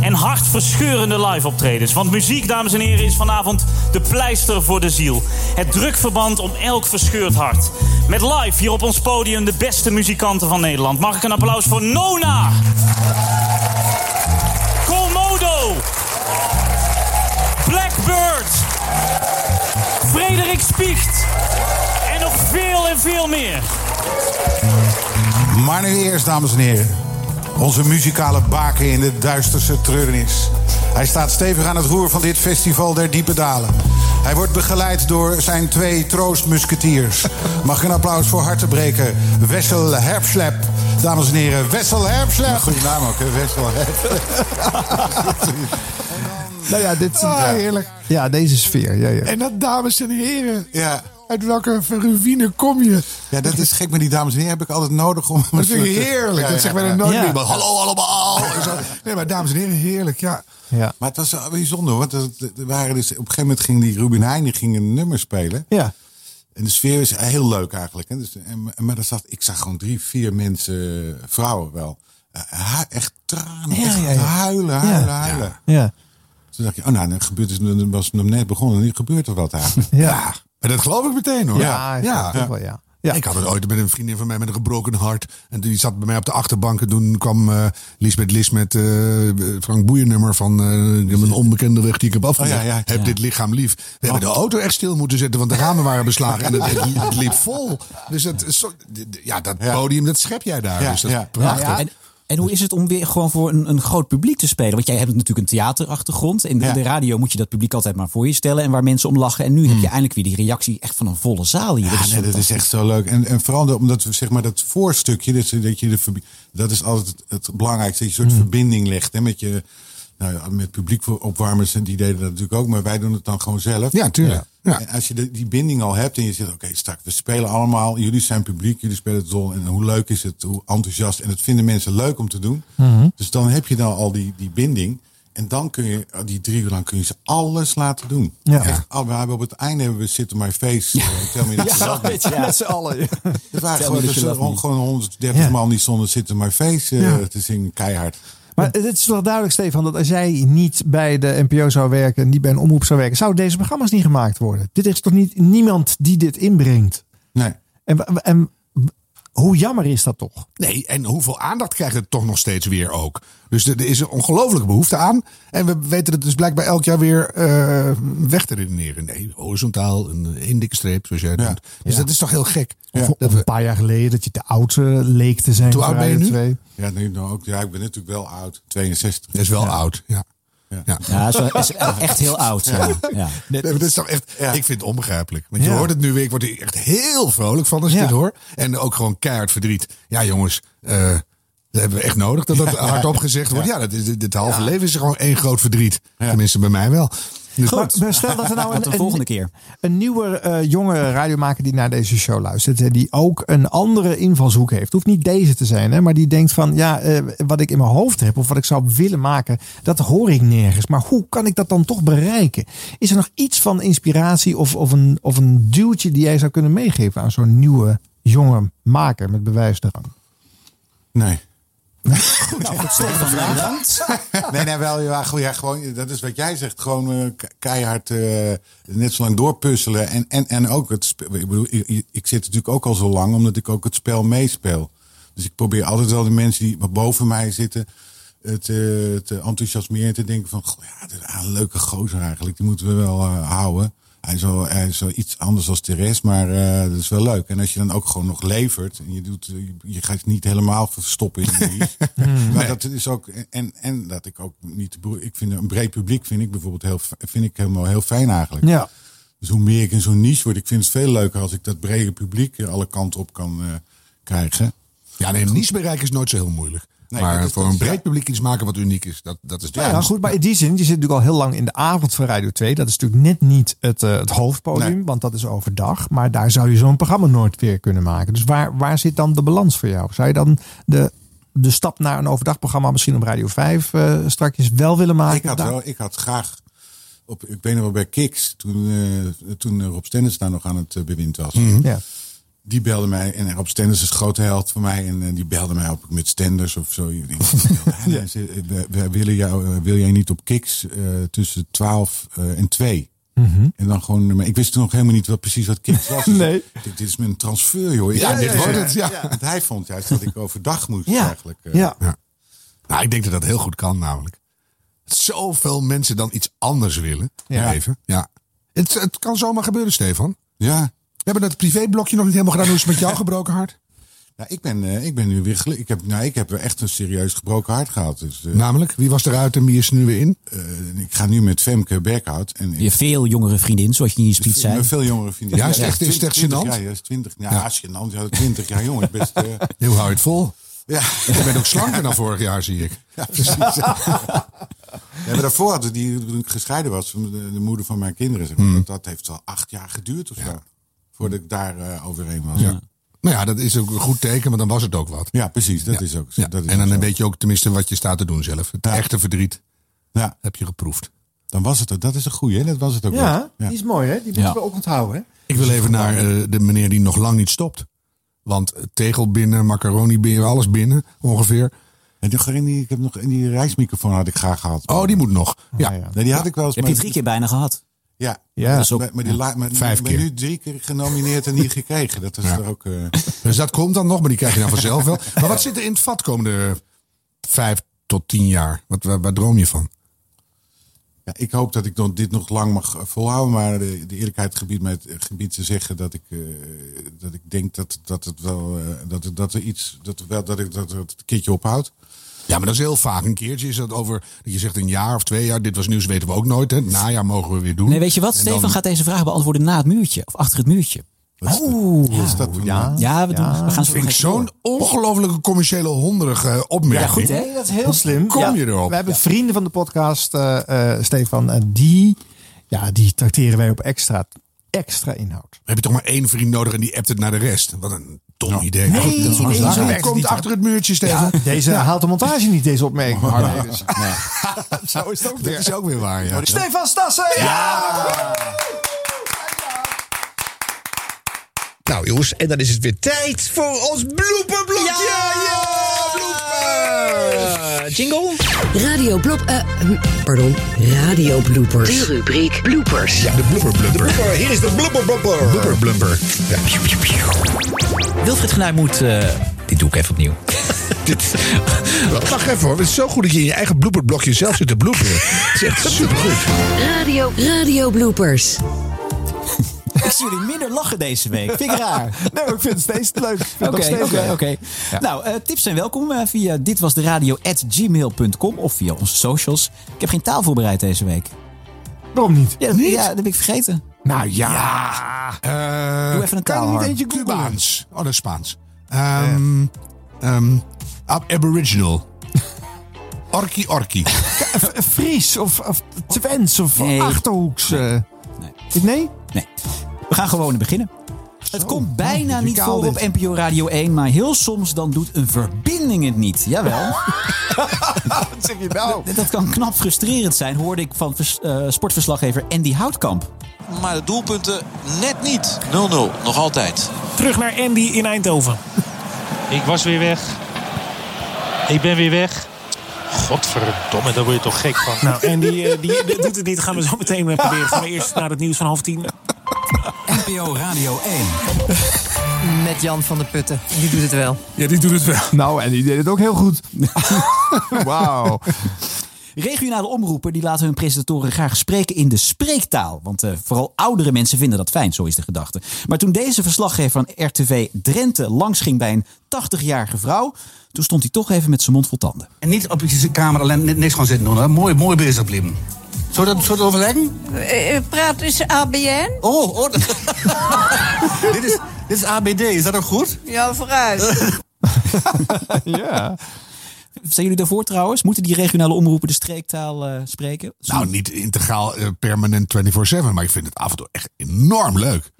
S23: en hartverscheurende live optredens. Want muziek, dames en heren, is vanavond de pleister voor de ziel. Het drukverband om elk verscheurd hart. Met live hier op ons podium de beste muzikanten van Nederland. Mag ik een applaus voor Nona? Colmodo. Blackbird. Frederik Spiecht. En nog veel en veel meer.
S19: Maar nu eerst, dames en heren. Onze muzikale baken in de duisterste treurnis. Hij staat stevig aan het roer van dit festival der diepe dalen. Hij wordt begeleid door zijn twee
S1: [LAUGHS]
S19: troostmusketiers. Mag ik een applaus voor hartebreker Wessel Herbschlep. Dames en heren, Wessel Herbschlep. Goede naam ook, hè? Wessel [LAUGHS] Herbschlep.
S2: Nou ja, dit is
S1: Ah, heerlijk.
S2: Ja, deze sfeer. Ja, ja.
S1: En dat, dames en heren.
S19: Ja.
S1: Uit welke ruïne kom je?
S19: Ja, dat is gek, maar die dames en heren heb ik altijd nodig om...
S1: Dat
S19: [LAUGHS]
S1: vind ik heerlijk.
S19: Ja,
S1: dat
S19: ja,
S1: zegt
S19: ja.
S1: bijna nooit
S19: Ja.
S1: meer. Maar hallo allemaal. En zo. Nee, maar dames en heren, heerlijk. Ja.
S2: Ja.
S19: Maar het was wel bijzonder, want het- er waren dus, op een gegeven moment ging die Ruben Heijn die ging een nummer spelen.
S2: Ja.
S19: En de sfeer is heel leuk eigenlijk. Hè? Dus, en, maar er zat, ik zag gewoon drie, vier mensen, vrouwen wel. eh, hu- echt tranen, echt huilen, huilen, huilen.
S2: Ja.
S19: Toen dacht ik, oh nou, dan gebeurt het, dan was het nog net begonnen. Nu gebeurt er wat eigenlijk.
S2: Ja.
S1: En dat geloof ik meteen hoor.
S19: Ja, ik geloof het ook wel,
S2: ja.
S1: Ik had het ooit met een vriendin van mij met een gebroken hart. En die zat bij mij op de achterbank. En toen kwam eh Lisbeth Lis met eh, Frank Boeien nummer van eh, ik heb een onbekende weg die ik heb afgelegd.
S19: Oh, ja, Oh. ja.
S1: Heb dit lichaam lief. We hebben de auto echt stil moeten zetten, want de ramen waren beslagen. En het, het- het liep vol. Dus dat, is zo- d- d- ja, dat podium, dat schep jij daar. dus dat is prachtig.
S3: En, en hoe is het om weer gewoon voor een, een groot publiek te spelen? Want jij hebt natuurlijk een theaterachtergrond. In de, de radio moet je dat publiek altijd maar voor je stellen. En waar mensen om lachen. En nu
S1: Hmm.
S3: heb je eindelijk weer die reactie echt van een volle zaal hier.
S19: Ja, nee, dat is
S3: fantastisch.
S19: echt zo leuk. En, en vooral de- omdat we zeg maar dat voorstukje, dat, je- dat, je de, verbi- dat is altijd het belangrijkste. Dat je een
S1: Mm.
S19: soort verbinding legt hè, met je nou, ja, met publiek voor opwarmers. En die deden dat natuurlijk ook, maar wij doen het dan gewoon zelf.
S1: Ja, tuurlijk.
S19: En als je de- die binding al hebt en je zegt: Oké, straks, we spelen allemaal, jullie zijn publiek, jullie spelen het zon. En hoe leuk is het, hoe enthousiast. En dat vinden mensen leuk om te doen.
S2: Mhm.
S19: Dus dan heb je dan al die, die binding. En dan kun je, oh, die drie uur lang kun je ze alles laten doen.
S2: Ja.
S19: Echt, al- we hebben op het einde hebben we Sit on My Face. eh, Tell
S3: [LAUGHS]
S19: me that you love me.
S2: met z'n allen.
S19: Er waren gewoon, er
S2: Ja.
S19: stonden gewoon 130 man die stonden Sit on My Face eh,
S2: Ja.
S19: te zingen, keihard.
S2: Maar het is toch duidelijk, Stefan, dat als jij niet bij de NPO zou werken, niet bij een omroep zou werken, zouden deze programma's niet gemaakt worden. Dit is toch niet niemand die dit inbrengt?
S19: Nee.
S2: En, wa- en hoe jammer is dat toch?
S1: Nee, en hoeveel aandacht krijgt het toch nog steeds weer ook. Dus er, er is een ongelooflijke behoefte aan. En we weten het dus blijkbaar elk jaar weer eh, weg te redeneren. Nee, horizontaal, een, een dikke streep, zoals jij het noemt. Dus
S2: Ja.
S1: dat is toch heel gek.
S2: Of, of een paar jaar geleden dat je te oud eh, leek te zijn.
S1: Hoe
S2: voor
S1: oud ben je
S2: Radio
S1: nu?
S2: 2.
S19: Ja, nu nou ook. Ja, ik ben natuurlijk wel oud. 62.
S1: Dat is wel oud, ja.
S19: Ja,
S3: Ja, is wel- is echt heel oud, ja. Ja.
S1: Nee, maar dat is toch echt, Ik vind het onbegrijpelijk. Want je
S19: Ja.
S1: hoort het nu weer. Ik word er echt heel vrolijk van als ik dit hoor. En ook gewoon keihard verdriet. Ja, jongens. eh, dat hebben we echt nodig dat dat
S19: Ja.
S1: hardop gezegd wordt.
S19: Ja.
S1: Ja, dat is, dit, dit halve leven is gewoon één groot verdriet. Tenminste, bij mij wel. Dus-
S2: Maar- maar stel dat er nou een, een-
S3: keer.
S2: een nieuwe eh, jonge radiomaker die naar deze show luistert. hè, die ook een andere invalshoek heeft. Hoeft niet deze te zijn, hè, maar die denkt van ja, eh, wat ik in mijn hoofd heb of wat ik zou willen maken, dat hoor ik nergens. Maar hoe kan ik dat dan toch bereiken? Is er nog iets van inspiratie of, of, een, of een duwtje die jij zou kunnen meegeven aan zo'n nieuwe jonge maker met bewijsdrang?
S19: Nee.
S3: Nou, goed, Stefan, bedankt.
S19: [LAUGHS] nee, nee, wel. Ja, gewoon- ja, gewoon, dat is wat jij zegt. Gewoon eh, ke- keihard eh, net zo lang doorpuzzelen. En, en, en ook het spe- Ik bedoel, ik, ik zit natuurlijk ook al zo lang omdat ik ook het spel meespeel. Dus ik probeer altijd wel de mensen die boven mij zitten. Het te, te enthousiasmeren en te denken van... "Goh, ja, dit is een leuke gozer eigenlijk. Die moeten we wel eh, houden. Hij is, wel, hij is wel iets anders als de rest, maar eh, dat is wel leuk. En als je dan ook gewoon nog levert... en je, doet, eh, je- je gaat je niet helemaal verstoppen in de niche. Maar dat is ook. En, en dat ik ook niet. te beroer- Ik vind een breed publiek vind ik bijvoorbeeld heel, fi- vind ik helemaal heel fijn eigenlijk.
S2: Ja.
S19: Dus hoe meer ik in zo'n niche word, ik vind het veel leuker als ik dat brede publiek eh, alle kanten op kan eh, krijgen.
S1: Ja, nee, een niche bereiken is nooit zo heel moeilijk.
S19: Nee, dat
S1: maar
S19: is-
S1: voor
S19: dat
S1: een
S19: is-
S1: breed publiek iets maken wat uniek is, dat, dat is
S2: Ja, nou goed, maar in die zin, je zit natuurlijk al heel lang in de avond van Radio 2. Dat is natuurlijk net niet het, eh, het hoofdpodium, want dat is overdag. Maar daar zou je zo'n programma nooit weer kunnen maken. Dus waar, waar zit dan de balans voor jou? Zou je dan de, de stap naar een overdagprogramma misschien op Radio 5 eh strakjes wel willen maken?
S19: Ik had,
S2: Daar-
S19: wel, ik had graag. Op,
S2: Mhm.
S19: ik weet nog wel bij Kiks, toen, eh, toen eh, Rob Stennis daar nog aan het eh, bewind was.
S2: Ja.
S19: Die belde mij en op Stenders is een grote held voor mij. En, eh, die belde mij op met Stenders of zo. Ik denk,
S1: [LAUGHS]
S19: hij zei, eh, we, we willen jou, eh, wil jij niet op Kiks eh, tussen 12 eh, en 2?
S2: Mhm.
S19: En dan gewoon, maar ik wist toen nog helemaal niet wat, precies wat Kiks
S1: [LAUGHS]
S19: was. nee. dit, dit is mijn transfer, joh. Ik-
S1: Ja, dit wordt het, ja.
S19: Want hij vond juist dat ik overdag moest
S1: Ja.
S19: eigenlijk. eh.
S1: Ja. Nou, ik denk dat dat heel goed kan, namelijk. Zoveel mensen dan iets anders willen.
S19: Ja.
S1: Even. Ja. Het, het kan zomaar gebeuren, Stefan.
S19: Ja.
S1: We hebben dat privéblokje nog niet helemaal gedaan. Hoe is het met jou gebroken hart?
S19: Nou, ik ben, eh, ik ben nu weer gelu- ik heb, nou, ik heb echt een serieus gebroken hart gehad. Dus, eh,
S1: [LAUGHS] Namelijk, wie was eruit en wie is er nu weer in?
S19: eh, ik ga nu met Femke
S1: [LAUGHS]
S19: Berghout. En ik-
S3: Je hebt veel jongere vriendin, zoals je in je speech zei.
S19: Veel jongere vrienden.
S1: Ja, is het echt- is het echt gênant?
S19: Ja, is 20 Ja,
S1: Ja.
S19: is gênant. Ja, 20 jaar jong. is Best, eh,
S1: [LAUGHS] Heel hou je het vol.
S19: ja.
S1: Je bent ook slanker dan vorig jaar, zie ik.
S19: Ja, precies.
S1: [LAUGHS]
S19: ja, maar daarvoor hadden die, toen ik gescheiden was, van de, de moeder van mijn kinderen, zeg maar,
S1: Hmm.
S19: dat, dat heeft wel acht jaar geduurd of zo. Voordat ik daar eh, overheen was.
S1: Ja. Nou ja, dat is ook een goed teken, maar dan was het ook wat.
S19: Ja, precies. Dat is ook zo. Dat is
S1: en
S19: ook
S1: dan
S19: zo.
S1: weet je ook tenminste wat je staat te doen zelf. Het echte verdriet
S19: Ja.
S1: heb je geproefd.
S19: Dan was het, het. dat is een goeie, hè? dat was het ook
S2: Ja,
S19: wel.
S2: die is mooi hè? Die moeten
S1: Ja.
S2: we ook onthouden hè?
S1: Ik wil even naar eh, de meneer die nog lang niet stopt. Want eh, tegel binnen, macaroni binnen, alles binnen ongeveer.
S19: En die, in die, ik heb nog, in die reismicrofoon had ik graag gehad.
S1: Oh, die moet nog. Ja.
S19: Nee, die had ik wel eens.
S3: Heb je
S19: maar-
S3: drie keer bijna gehad?
S19: Ja,
S1: Ja.
S3: Dat is ook-
S19: maar, maar die
S3: ja.
S19: la- maar,
S1: Vijf
S19: maar
S1: keer.
S19: nu drie keer genomineerd en niet gekregen. Dat is er ook... eh,
S1: Dus dat komt dan nog, maar die krijg je dan
S9: [LAUGHS]
S1: vanzelf wel. Maar wat zit er in het vat komende vijf tot tien jaar? Wat, waar, waar droom je van?
S19: Ja, ik hoop dat ik nog- dit nog lang mag eh, volhouden. Maar de, de eerlijkheid gebied mij het eh, gebied te zeggen dat ik, eh, dat ik denk dat, dat het wel. eh, dat, het- dat er iets. Dat, er wel, dat, ik, dat het een keertje ophoudt.
S1: Ja, maar dat is heel vaak. Een keertje is dat over dat je zegt een jaar of twee jaar. Dit was nieuws, weten we ook nooit. Hè. Het Najaar mogen we weer doen.
S3: Nee, weet je wat?
S1: En
S3: Stefan
S1: dan-
S3: gaat deze vraag beantwoorden na het muurtje. Of achter het muurtje.
S1: Oeh,
S3: ja.
S1: dat
S3: ja. Ja, we doen- we gaan zo
S1: vind ik
S3: gek
S1: zo'n ongelofelijke commerciële honderige opmerking.
S2: Ja, goed, hè? Nee, dat is heel slim.
S1: Kom
S2: Ja,
S1: je erop?
S2: We hebben vrienden van de podcast, eh, eh, Stefan, en die, ja, die tracteren wij op extra, extra inhoud.
S1: Dan heb je toch maar één vriend nodig en die appt het naar de rest. Wat een dom idee.
S2: Nee,
S1: Goed,
S2: nee,
S1: was
S2: zo
S1: daar.
S2: werkt
S1: Hij
S2: het
S1: komt
S2: niet, hè?
S1: achter het muurtje, Stefan.
S2: Deze
S1: Ja.
S2: haalt de montage niet, deze opmerking. van Harm Edens.
S4: [LAUGHS]
S1: Zo is het ook weer. Dat is ook weer waar, ja.
S2: Stefan Stassen!
S9: Nou jongens, en dan is het weer tijd voor ons bloeperblokje! Ja, jingle?
S7: Radio blop... eh, hm, pardon, radio bloopers. De rubriek bloopers.
S9: Ja, de blooper blumper. Hier is de blooper blumper. Blooper blumper. Ja.
S12: Wilfried Genuij moet... eh, dit doe ik even opnieuw.
S9: Dit. Wacht even hoor, het is zo goed dat je in je eigen blooperblokje zelf zit te bloeperen. Het is echt supergoed.
S7: Radio, radio bloopers.
S3: [LAUGHS] Ik zie jullie minder lachen deze week. Vind
S4: [LAUGHS]
S3: ik raar.
S2: Nee, maar ik vind het steeds leuk. Ik vind het nog
S3: Oké,
S2: steeds
S3: oké,
S2: leuk.
S3: oké. Nou, eh, tips zijn welkom eh, via ditwasderadio.gmail.com of via onze socials. Ik heb geen taal voorbereid deze week.
S2: Waarom niet?
S3: Ja, dat, ja, dat heb ik vergeten.
S1: Nou ja. Eh,
S3: Doe even een
S1: kan
S3: taal,
S1: je niet
S3: Harm.
S1: eentje Cubaans. Oh, dat is Spaans. Ehm ehm, ab- aboriginal. [LAUGHS] Orki orki.
S2: F- eh, Fries of, of Twents of Achterhoeks. eh. nee.
S3: Nee. We gaan gewoon beginnen. Het komt bijna niet
S2: muzikaal
S3: voor op
S2: dit.
S3: NPO Radio 1, maar heel soms dan doet een verbinding het niet.
S2: [LAUGHS]
S3: Jawel.
S2: Wat zeg je nou?
S3: Dat kan knap frustrerend zijn, hoorde ik van vers- eh, sportverslaggever Andy Houtkamp.
S6: Maar de doelpunten net niet. 0-0, nog altijd.
S21: Terug naar Andy in Eindhoven. eh, Ik was weer weg. Ik ben weer weg. Godverdomme, daar word je toch gek van. Nou, Andy eh, die, die doet het niet. Gaan we zo meteen eh, proberen. Gaan we eerst naar het nieuws van half tien.
S24: NPO Radio 1.
S25: Met Jan van der Putten. Die doet het wel.
S21: Ja, die doet het wel.
S2: Nou, en die deed het ook heel goed. [LAUGHS] Wauw.
S3: Regionale omroepen die laten hun presentatoren graag spreken in de spreektaal. Want eh, vooral oudere mensen vinden dat fijn, zo is de gedachte. Maar toen deze verslaggever van RTV Drenthe langsging bij een 80-jarige vrouw... toen stond hij toch even met zijn mond vol tanden.
S24: En niet op je kamer alleen ni- niks gaan zitten doen. Hè? Mooi, mooi bezig blijven. Zou dat, zou dat overleggen?
S25: Eh, eh, praat is ABN?
S24: Oh, oh. dat- [LAUGHS] dit, is, dit is ABD, is dat ook goed?
S2: [LAUGHS]
S25: Ja, vooruit.
S2: ja.
S3: Zijn jullie daarvoor trouwens? Moeten die regionale omroepen de streektaal eh, spreken?
S1: Nou, niet integraal eh, permanent 24-7, maar ik vind het af en toe echt enorm leuk.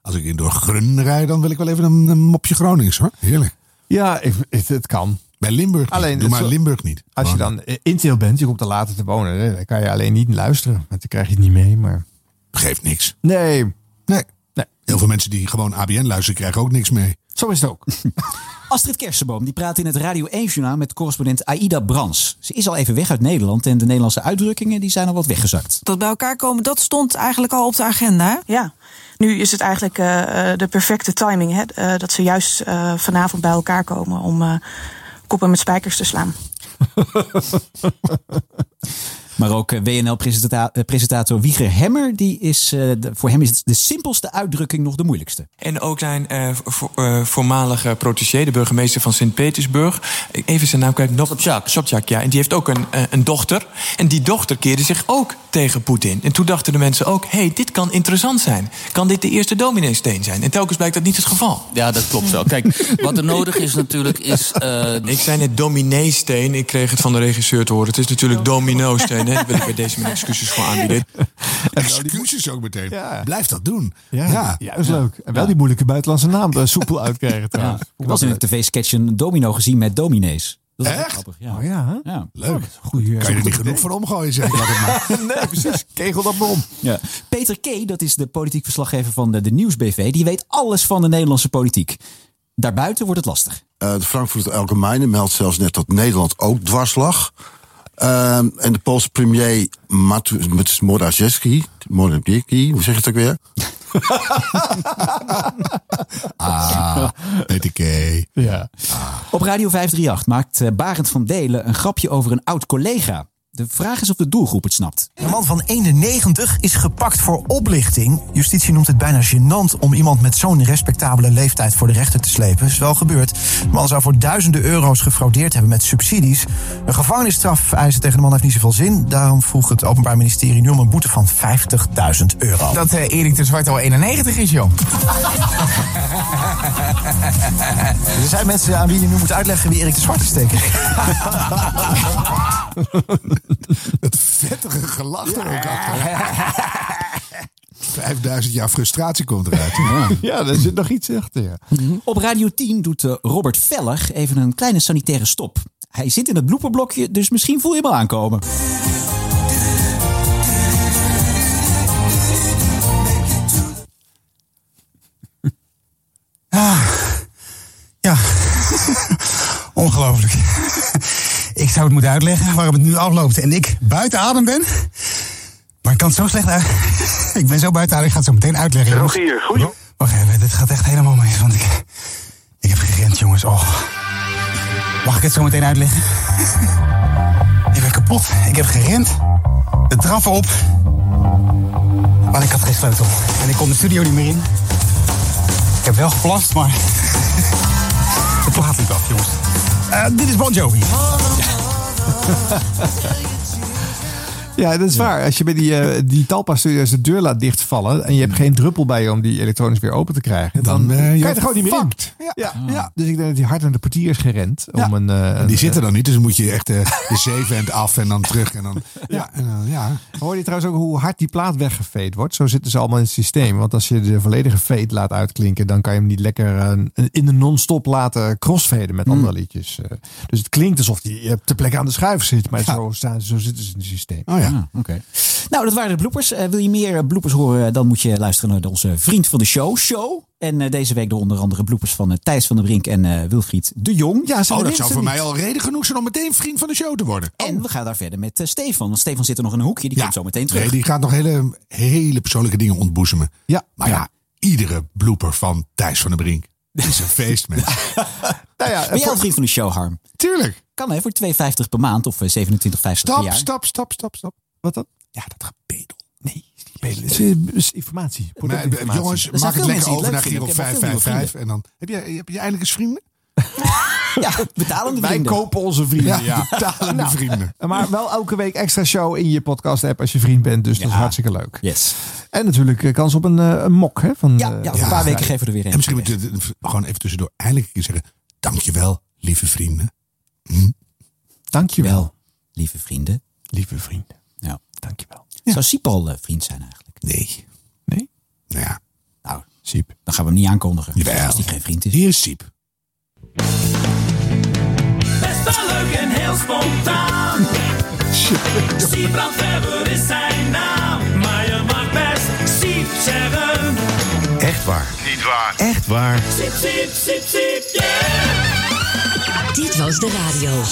S1: Als ik in door Grun rijd, dan wil ik wel even een, een mopje Gronings hoor. Heerlijk.
S2: Ja, het, kan.
S1: Bij Limburg.
S2: Alleen,
S1: Alleen, Doe
S2: het
S1: maar
S2: zo-
S1: Limburg niet.
S2: Als je dan eh, inteel bent, je komt er later te wonen. hè, Dan kan je alleen niet luisteren. Want dan krijg je het niet mee. Maar...
S1: Geeft niks.
S2: Nee.
S1: Nee.
S2: nee.
S1: Heel veel mensen die gewoon ABN luisteren krijgen ook niks
S2: [LAUGHS]
S1: mee.
S3: Zo is het ook. [LAUGHS] Astrid Kersenboom die praat in het Radio 1-journaal met correspondent Aida Brans. Ze is al even weg uit Nederland en de Nederlandse uitdrukkingen die zijn al wat weggezakt.
S16: Dat bij elkaar komen, dat stond eigenlijk al op de agenda. hè?
S13: Ja, nu is het eigenlijk eh, eh, de perfecte timing. Hè? Eh, dat ze juist eh, vanavond bij elkaar komen om eh, koppen met spijkers te slaan.
S3: Maar ook eh, WNL-presentator Wieger Hemmer, die is, eh, de- voor hem is het de simpelste uitdrukking nog de moeilijkste.
S26: En ook zijn eh, vo- eh, voormalige protégé, de burgemeester van Sint-Petersburg. Even zijn naam kijken. Sobchak. Sobchak, ja. En die heeft ook een, eh, een dochter. En die dochter keerde zich ook tegen Poetin. En toen dachten de mensen ook... hé, hey, dit kan interessant zijn. Kan dit de eerste domineesteen zijn? En telkens blijkt dat niet het geval.
S15: Ja, dat klopt wel. Kijk, wat er nodig is natuurlijk is... eh,
S26: Ik zei net domineesteen. Ik kreeg het van de regisseur te horen. Het is natuurlijk domino-steen. Daar wil ik bij deze mijn excuses voor
S2: [LAUGHS]
S26: aanbieden.
S1: Excuses ook meteen. Blijf dat doen.
S2: Ja, ja, is leuk. En wel die moeilijke buitenlandse naam eh, soepel uitkrijgen
S3: Ja.
S2: trouwens.
S3: Ik was in een tv-sketch een domino gezien met dominees. Dat is wel grappig. Ja.
S2: Oh ja, hè?
S3: Ja.
S1: Leuk.
S2: Goeie,
S1: Kan je er niet genoeg van
S2: [LAUGHS]
S1: omgooien, zeg ik altijd maar.
S4: [LAUGHS]
S2: nee, precies. Kegel dat maar om.
S3: Ja. Peter K., dat is de politiek verslaggever van de, de Nieuwsbv, die weet alles van de Nederlandse politiek. Daarbuiten wordt het lastig.
S27: Eh, de Frankfurter Allgemeine meldt zelfs net dat Nederland ook
S3: [LAUGHS]
S27: dwars lag. Ehm, en de Poolse premier Matu- met Morawiecki, Morawiecki, hoe zeg je het ook weer?
S1: Ah, Peter K.
S3: eh.
S2: Ja.
S3: Op Radio 538 maakt eh, Barend van Delen een grapje over een oud collega. De vraag is of de doelgroep het snapt.
S28: Een man van 91 is gepakt voor oplichting. Justitie noemt het bijna gênant om iemand met zo'n respectabele leeftijd voor de rechter te slepen. Is wel gebeurd. De man zou voor duizenden euro's gefraudeerd hebben met subsidies. Een gevangenisstraf eisen tegen de man heeft niet zoveel zin. Daarom vroeg het Openbaar Ministerie nu om een boete van 50.000 euro.
S4: Dat eh, Erik de Zwart al 91 is,
S2: [LAUGHS]
S4: joh.
S28: Er zijn mensen aan wie je nu moet uitleggen wie Erik de Zwart is, denk ik.
S1: Vettige gelach er ook achter. 5000 jaar frustratie komt
S2: [LAUGHS]
S1: eruit. [LAUGHS] Ja,
S2: daar zit nog iets achter. Ja.
S3: Op Radio 10 doet eh, Robert Veller even een kleine sanitaire stop. Hij zit in het blooperblokje, dus misschien voel je hem al aankomen.
S4: Ja, ongelooflijk. Ik zou het moeten uitleggen waarom het nu afloopt en ik buiten adem ben. Maar ik kan het zo slecht uit. Ik ben zo buiten adem, ik ga het zo meteen uitleggen. jongens.
S29: Rogier, goed.
S4: Wacht even, dit gaat echt helemaal mis, want ik, ik heb gerend, jongens. Oh. Mag ik het zo meteen uitleggen? ik ben kapot. Ik heb gerend. De trap op. Maar ik had geen sleutel. En ik kon de studio niet meer in. Ik heb wel geplast, maar... [LAUGHS] de plaat liep af, jongens. Eh, dit is Bon
S30: [LAUGHS]
S4: Jovi.
S2: Ja, dat is waar. Als je bij die, eh, die Talpa-studio's de deur laat dichtvallen... en je hebt geen druppel bij je om die elektronisch weer open te krijgen... dan, kan je er gewoon niet meer in. Ja. Ja. Dus ik denk dat hij hard naar de portier is gerend. Om een, eh,
S1: die
S2: een-
S1: zitten dan niet, dus moet je echt eh, de zeven en af en dan terug. En
S2: [LAUGHS]
S1: dan, ja, en dan- ja.
S2: Hoor je trouwens ook hoe hard die plaat weggeveed wordt? Zo zitten ze allemaal in het systeem. Want als je de volledige fade laat uitklinken, dan kan je hem niet lekker eh, in de non-stop laten crossfaden
S1: Hmm.
S2: met andere liedjes. Eh, Dus het klinkt alsof die eh, ter plekke aan de schuif zit. Maar zo, staan, zo zitten ze in het systeem.
S1: Oh ja.
S3: oké. Nou, dat waren de bloepers. wil je meer eh, bloepers horen, dan moet je luisteren naar onze vriend van de show, Show. En eh, deze week door onder andere bloepers van eh, Thijs van der Brink en eh, Wilfried de Jong. Ja,
S1: Oh, dat zou voor mij al reden genoeg zijn om meteen vriend van de show te worden. Oh.
S3: En we gaan daar verder met eh, Stefan. Want Stefan zit er nog in een hoekje, die komt zo meteen terug.
S1: Nee, die gaat nog hele, hele persoonlijke dingen ontboezemen.
S2: Ja.
S1: Maar ja, iedere blooper van Thijs van der Brink is een
S3: [LAUGHS]
S1: feest, man. Eh,
S3: ben jij al vriend van de show, Harm?
S1: Nou Tuurlijk.
S3: Kan hè, voor 2,50 per maand of eh, 27,50 per
S1: Stap,
S3: jaar.
S1: stap, stap, stap, stap.
S2: Wat dan?
S1: Pedel.
S2: is informatie.
S1: Maar, eh, jongens, maak het lekker over naar Giro 555. En dan heb je, heb je eindelijk eens vrienden.
S3: [LAUGHS] ja, betalende
S2: Wij kopen onze
S1: [LAUGHS]
S2: vrienden.
S1: Ja, betalende
S2: Nou,
S1: vrienden.
S2: [LAUGHS] Maar wel elke week extra show in je podcast app als je vriend bent. Dus dat is hartstikke leuk.
S3: Yes.
S2: En natuurlijk eh, kans op een, eh, een mok. Hè, van, eh,
S3: ja, over een paar weken geven we er weer een.
S1: En misschien moet je het gewoon even tussendoor eindelijk een keer zeggen... Dankjewel, lieve vrienden. Hm?
S2: Dankjewel.
S3: Lieve vrienden.
S2: Lieve vrienden.
S3: Ja.
S2: Dankjewel.
S3: Zou Siep al eh, vriend zijn eigenlijk?
S1: Nee.
S2: Nee?
S1: Nou ja.
S3: Nou,
S2: Siep.
S3: Dan gaan we hem niet aankondigen.
S1: Jawel.
S3: Als hij geen vriend is.
S1: Hier is Siep.
S30: Best wel leuk en heel
S4: [LAUGHS]
S30: spontaan. Siebrand Weber is zijn naam, maar je mag best Siep zeggen.
S4: En
S9: Echt waar.
S8: Niet waar.
S9: Echt waar.
S30: Sip, sip, sip, sip,
S7: Dit was de radio.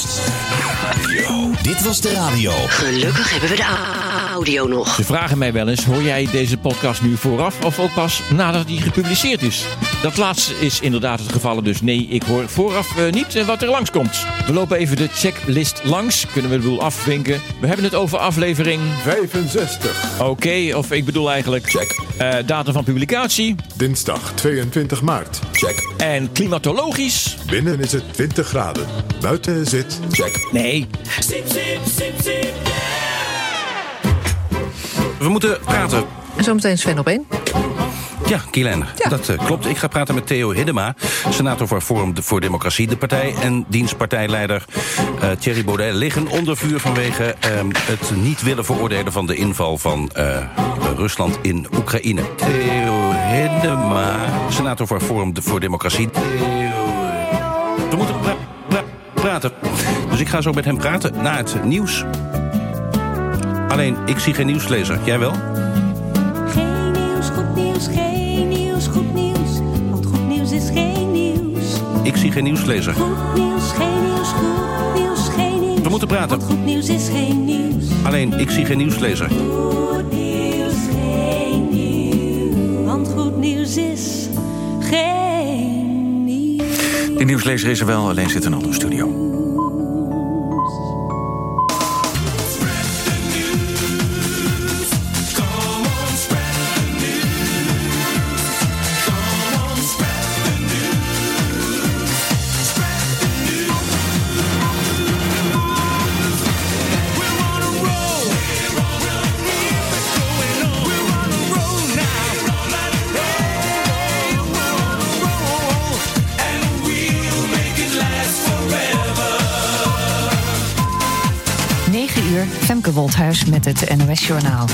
S11: Dit was de radio.
S7: Gelukkig hebben we de au- audio nog.
S11: Ze vragen mij wel eens: hoor jij deze podcast nu vooraf of ook pas nadat die gepubliceerd is? Dat laatste is inderdaad het geval, dus nee, ik hoor vooraf eh, niet eh, wat er langskomt. We lopen even de checklist langs, kunnen we de boel afvinken. We hebben het over aflevering 65. Oké, of ik bedoel eigenlijk. Check. datum van publicatie.
S8: Dinsdag 22 maart. Check.
S11: En klimatologisch.
S8: Binnen is het 20 graden. Buiten zit. Check.
S11: Nee.
S30: sip, sip, sip, sip.
S24: We moeten praten.
S25: En zometeen Sven op één.
S24: Ja, Kielijn, dat eh, klopt. Ik ga praten met Theo Hiddema, senator voor Forum voor Democratie, de partij... en dienstpartijleider eh, Thierry Baudet liggen onder vuur vanwege ehm, het niet willen veroordelen van de inval van eh, Rusland in Oekraïne. Theo Hiddema, senator voor Forum voor Democratie. Theo- We moeten pra- pra- praten. Dus ik ga zo met hem praten na het nieuws. Alleen, ik zie geen nieuwslezer. Jij wel?
S14: Geen nieuws, goed nieuws, geen nieuws, goed nieuws. Want goed nieuws is geen nieuws.
S24: Ik zie geen nieuwslezer.
S14: Goed nieuws, geen nieuws, goed nieuws, geen nieuws.
S24: We moeten praten.
S14: Goed nieuws is geen nieuws.
S24: Alleen, ik zie geen nieuwslezer.
S14: Goed nieuws, geen nieuws. Want goed nieuws is geen
S24: De nieuwslezer is er wel, alleen zit in een andere studio.
S30: We'll make it last forever.
S25: 9 uur, Femke Woldhuis met het NOS Journaal.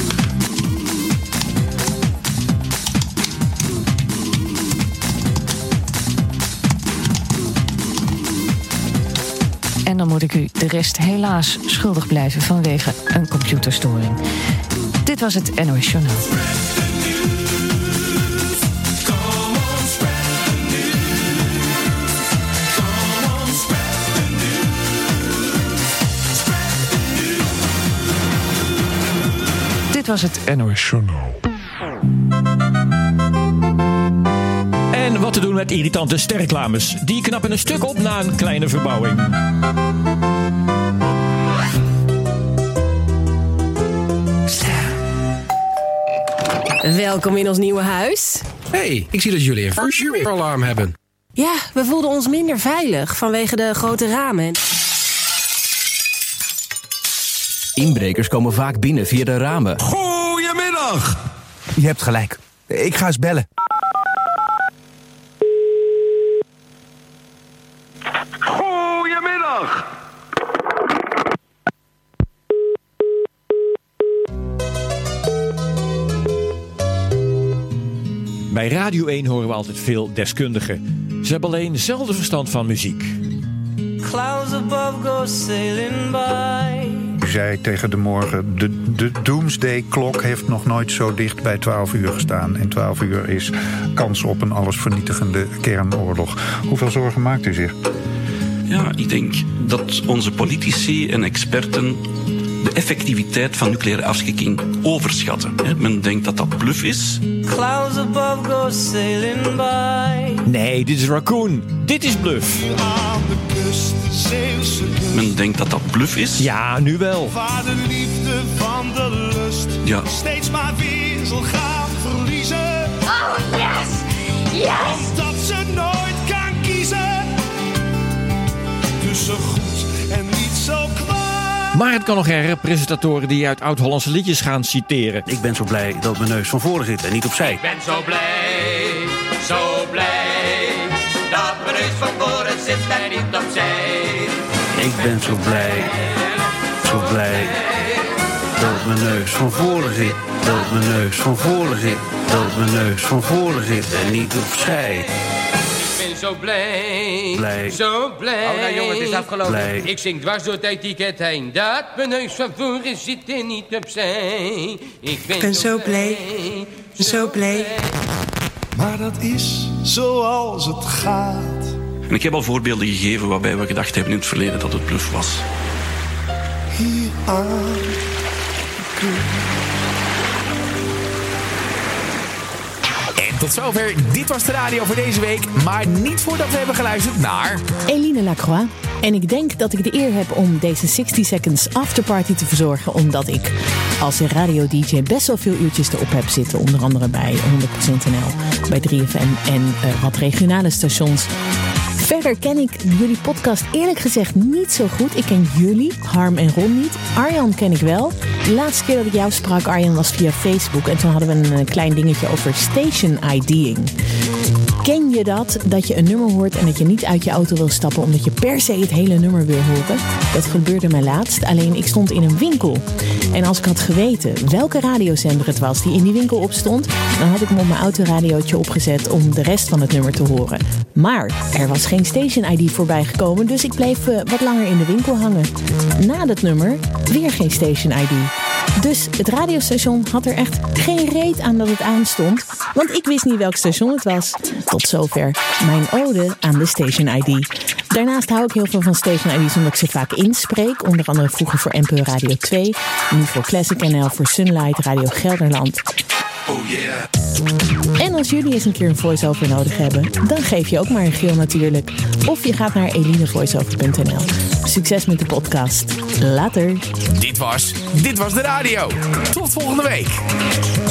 S25: En dan moet ik u de rest helaas schuldig blijven vanwege een computerstoring. Dit was het NOS Journaal. Dit was het
S11: NOS Journaal. En wat te doen met irritante sterreclames. Die knappen een stuk op na een kleine verbouwing.
S18: Welkom in ons nieuwe huis.
S22: hey, ik zie dat jullie een verhuuralarm hebben.
S18: Ja, we voelden ons minder veilig vanwege de grote ramen.
S22: Inbrekers komen vaak binnen via de ramen.
S14: Goedemiddag!
S22: Je hebt gelijk. Ik ga eens bellen.
S14: Goedemiddag!
S11: Bij Radio 1 horen we altijd veel deskundigen. Ze hebben alleen zelden verstand van muziek.
S30: Clouds above go sailing by.
S20: zei tegen de morgen, de, de doomsday-klok heeft nog nooit zo dicht bij 12 uur gestaan. En 12 uur is kans op een allesvernietigende kernoorlog. Hoeveel zorgen maakt u zich?
S31: Ja, ik denk dat onze politici en experten de effectiviteit van nucleaire afschrikking overschatten. hè. Men denkt dat dat bluff is.
S30: Clouds above go sailing by.
S11: Nee, dit is Raccoon. Dit is bluff.
S30: Aan de kust, de Zeeuwse kust.
S31: Men denkt dat dat bluff is.
S11: Ja, nu wel.
S30: Waar de liefde van de lust
S31: Ja.
S30: steeds maar weer zal gaan verliezen. Oh, yes!
S14: Yes!
S30: Omdat ze nooit kan kiezen tussen goed en niet zo kwaad.
S11: Maar het kan nog erger, presentatoren die uit oud-Hollandse liedjes gaan citeren.
S24: Ik ben zo blij dat mijn neus van voren zit en niet opzij.
S30: ben zo blij, zo blij, dat mijn neus van voren zit en niet opzij.
S24: Ik ben zo blij, zo blij dat mijn neus van voren zit. Dat mijn neus van voren zit. Dat mijn neus van voren zit en niet opzij.
S32: Ik ben zo blij.
S24: Blij.
S32: Zo blij.
S24: Oh, nou, jongens, het is afgelopen. Blij.
S32: Ik zing dwars door het etiket heen. Dat mijn neus van voren zit en niet opzij. Ik ben,
S20: Ik ben zo blij. Zo blij
S16: Maar dat is zoals het gaat.
S31: En ik heb al voorbeelden gegeven waarbij we gedacht hebben in het verleden dat het bluff was.
S16: Hier aan
S19: En tot zover. Dit was de radio voor deze week. Maar niet voordat we hebben geluisterd naar...
S23: Eline Lacroix. En ik denk dat ik de eer heb om deze 60 Seconds Afterparty te verzorgen. Omdat ik als radio-dj best wel veel uurtjes erop heb zitten. Onder andere bij 100%NL, bij 3FM en eh, wat regionale stations. Verder ken ik jullie podcast eerlijk gezegd niet zo goed. Ik ken jullie, Harm en Ron niet. Arjan ken ik wel. De laatste keer dat ik jou sprak, Arjan, was via Facebook. En toen hadden we een eh, klein dingetje over station ID'ing. Ken je dat? Dat je een nummer hoort en dat je niet uit je auto wil stappen omdat je per se het hele nummer wil horen? Dat gebeurde mij laatst, alleen ik stond in een winkel. En als ik had geweten welke radiozender het was die in die winkel opstond, dan had ik hem op mijn autoradiootje opgezet om de rest van het nummer te horen. Maar er was geen station ID voorbij gekomen, dus ik bleef eh, wat langer in de winkel hangen. Na dat nummer weer geen station ID. Dus het radiostation had er echt geen reet aan dat het aanstond, want ik wist niet welk station het was. Tot zover mijn ode aan de Station ID. Daarnaast hou ik heel veel van Station ID's omdat ik ze vaak inspreek, onder andere vroeger voor NPO Radio 2, nu voor Classic NL, voor Sunlight, Radio Gelderland.
S30: Oh yeah.
S23: En als jullie eens een keer een voice-over nodig hebben, dan geef je ook maar een geel natuurlijk. Of je gaat naar elinevoiceover.nl. Succes met de podcast. Later.
S19: Dit was... Dit was de radio. Tot volgende week.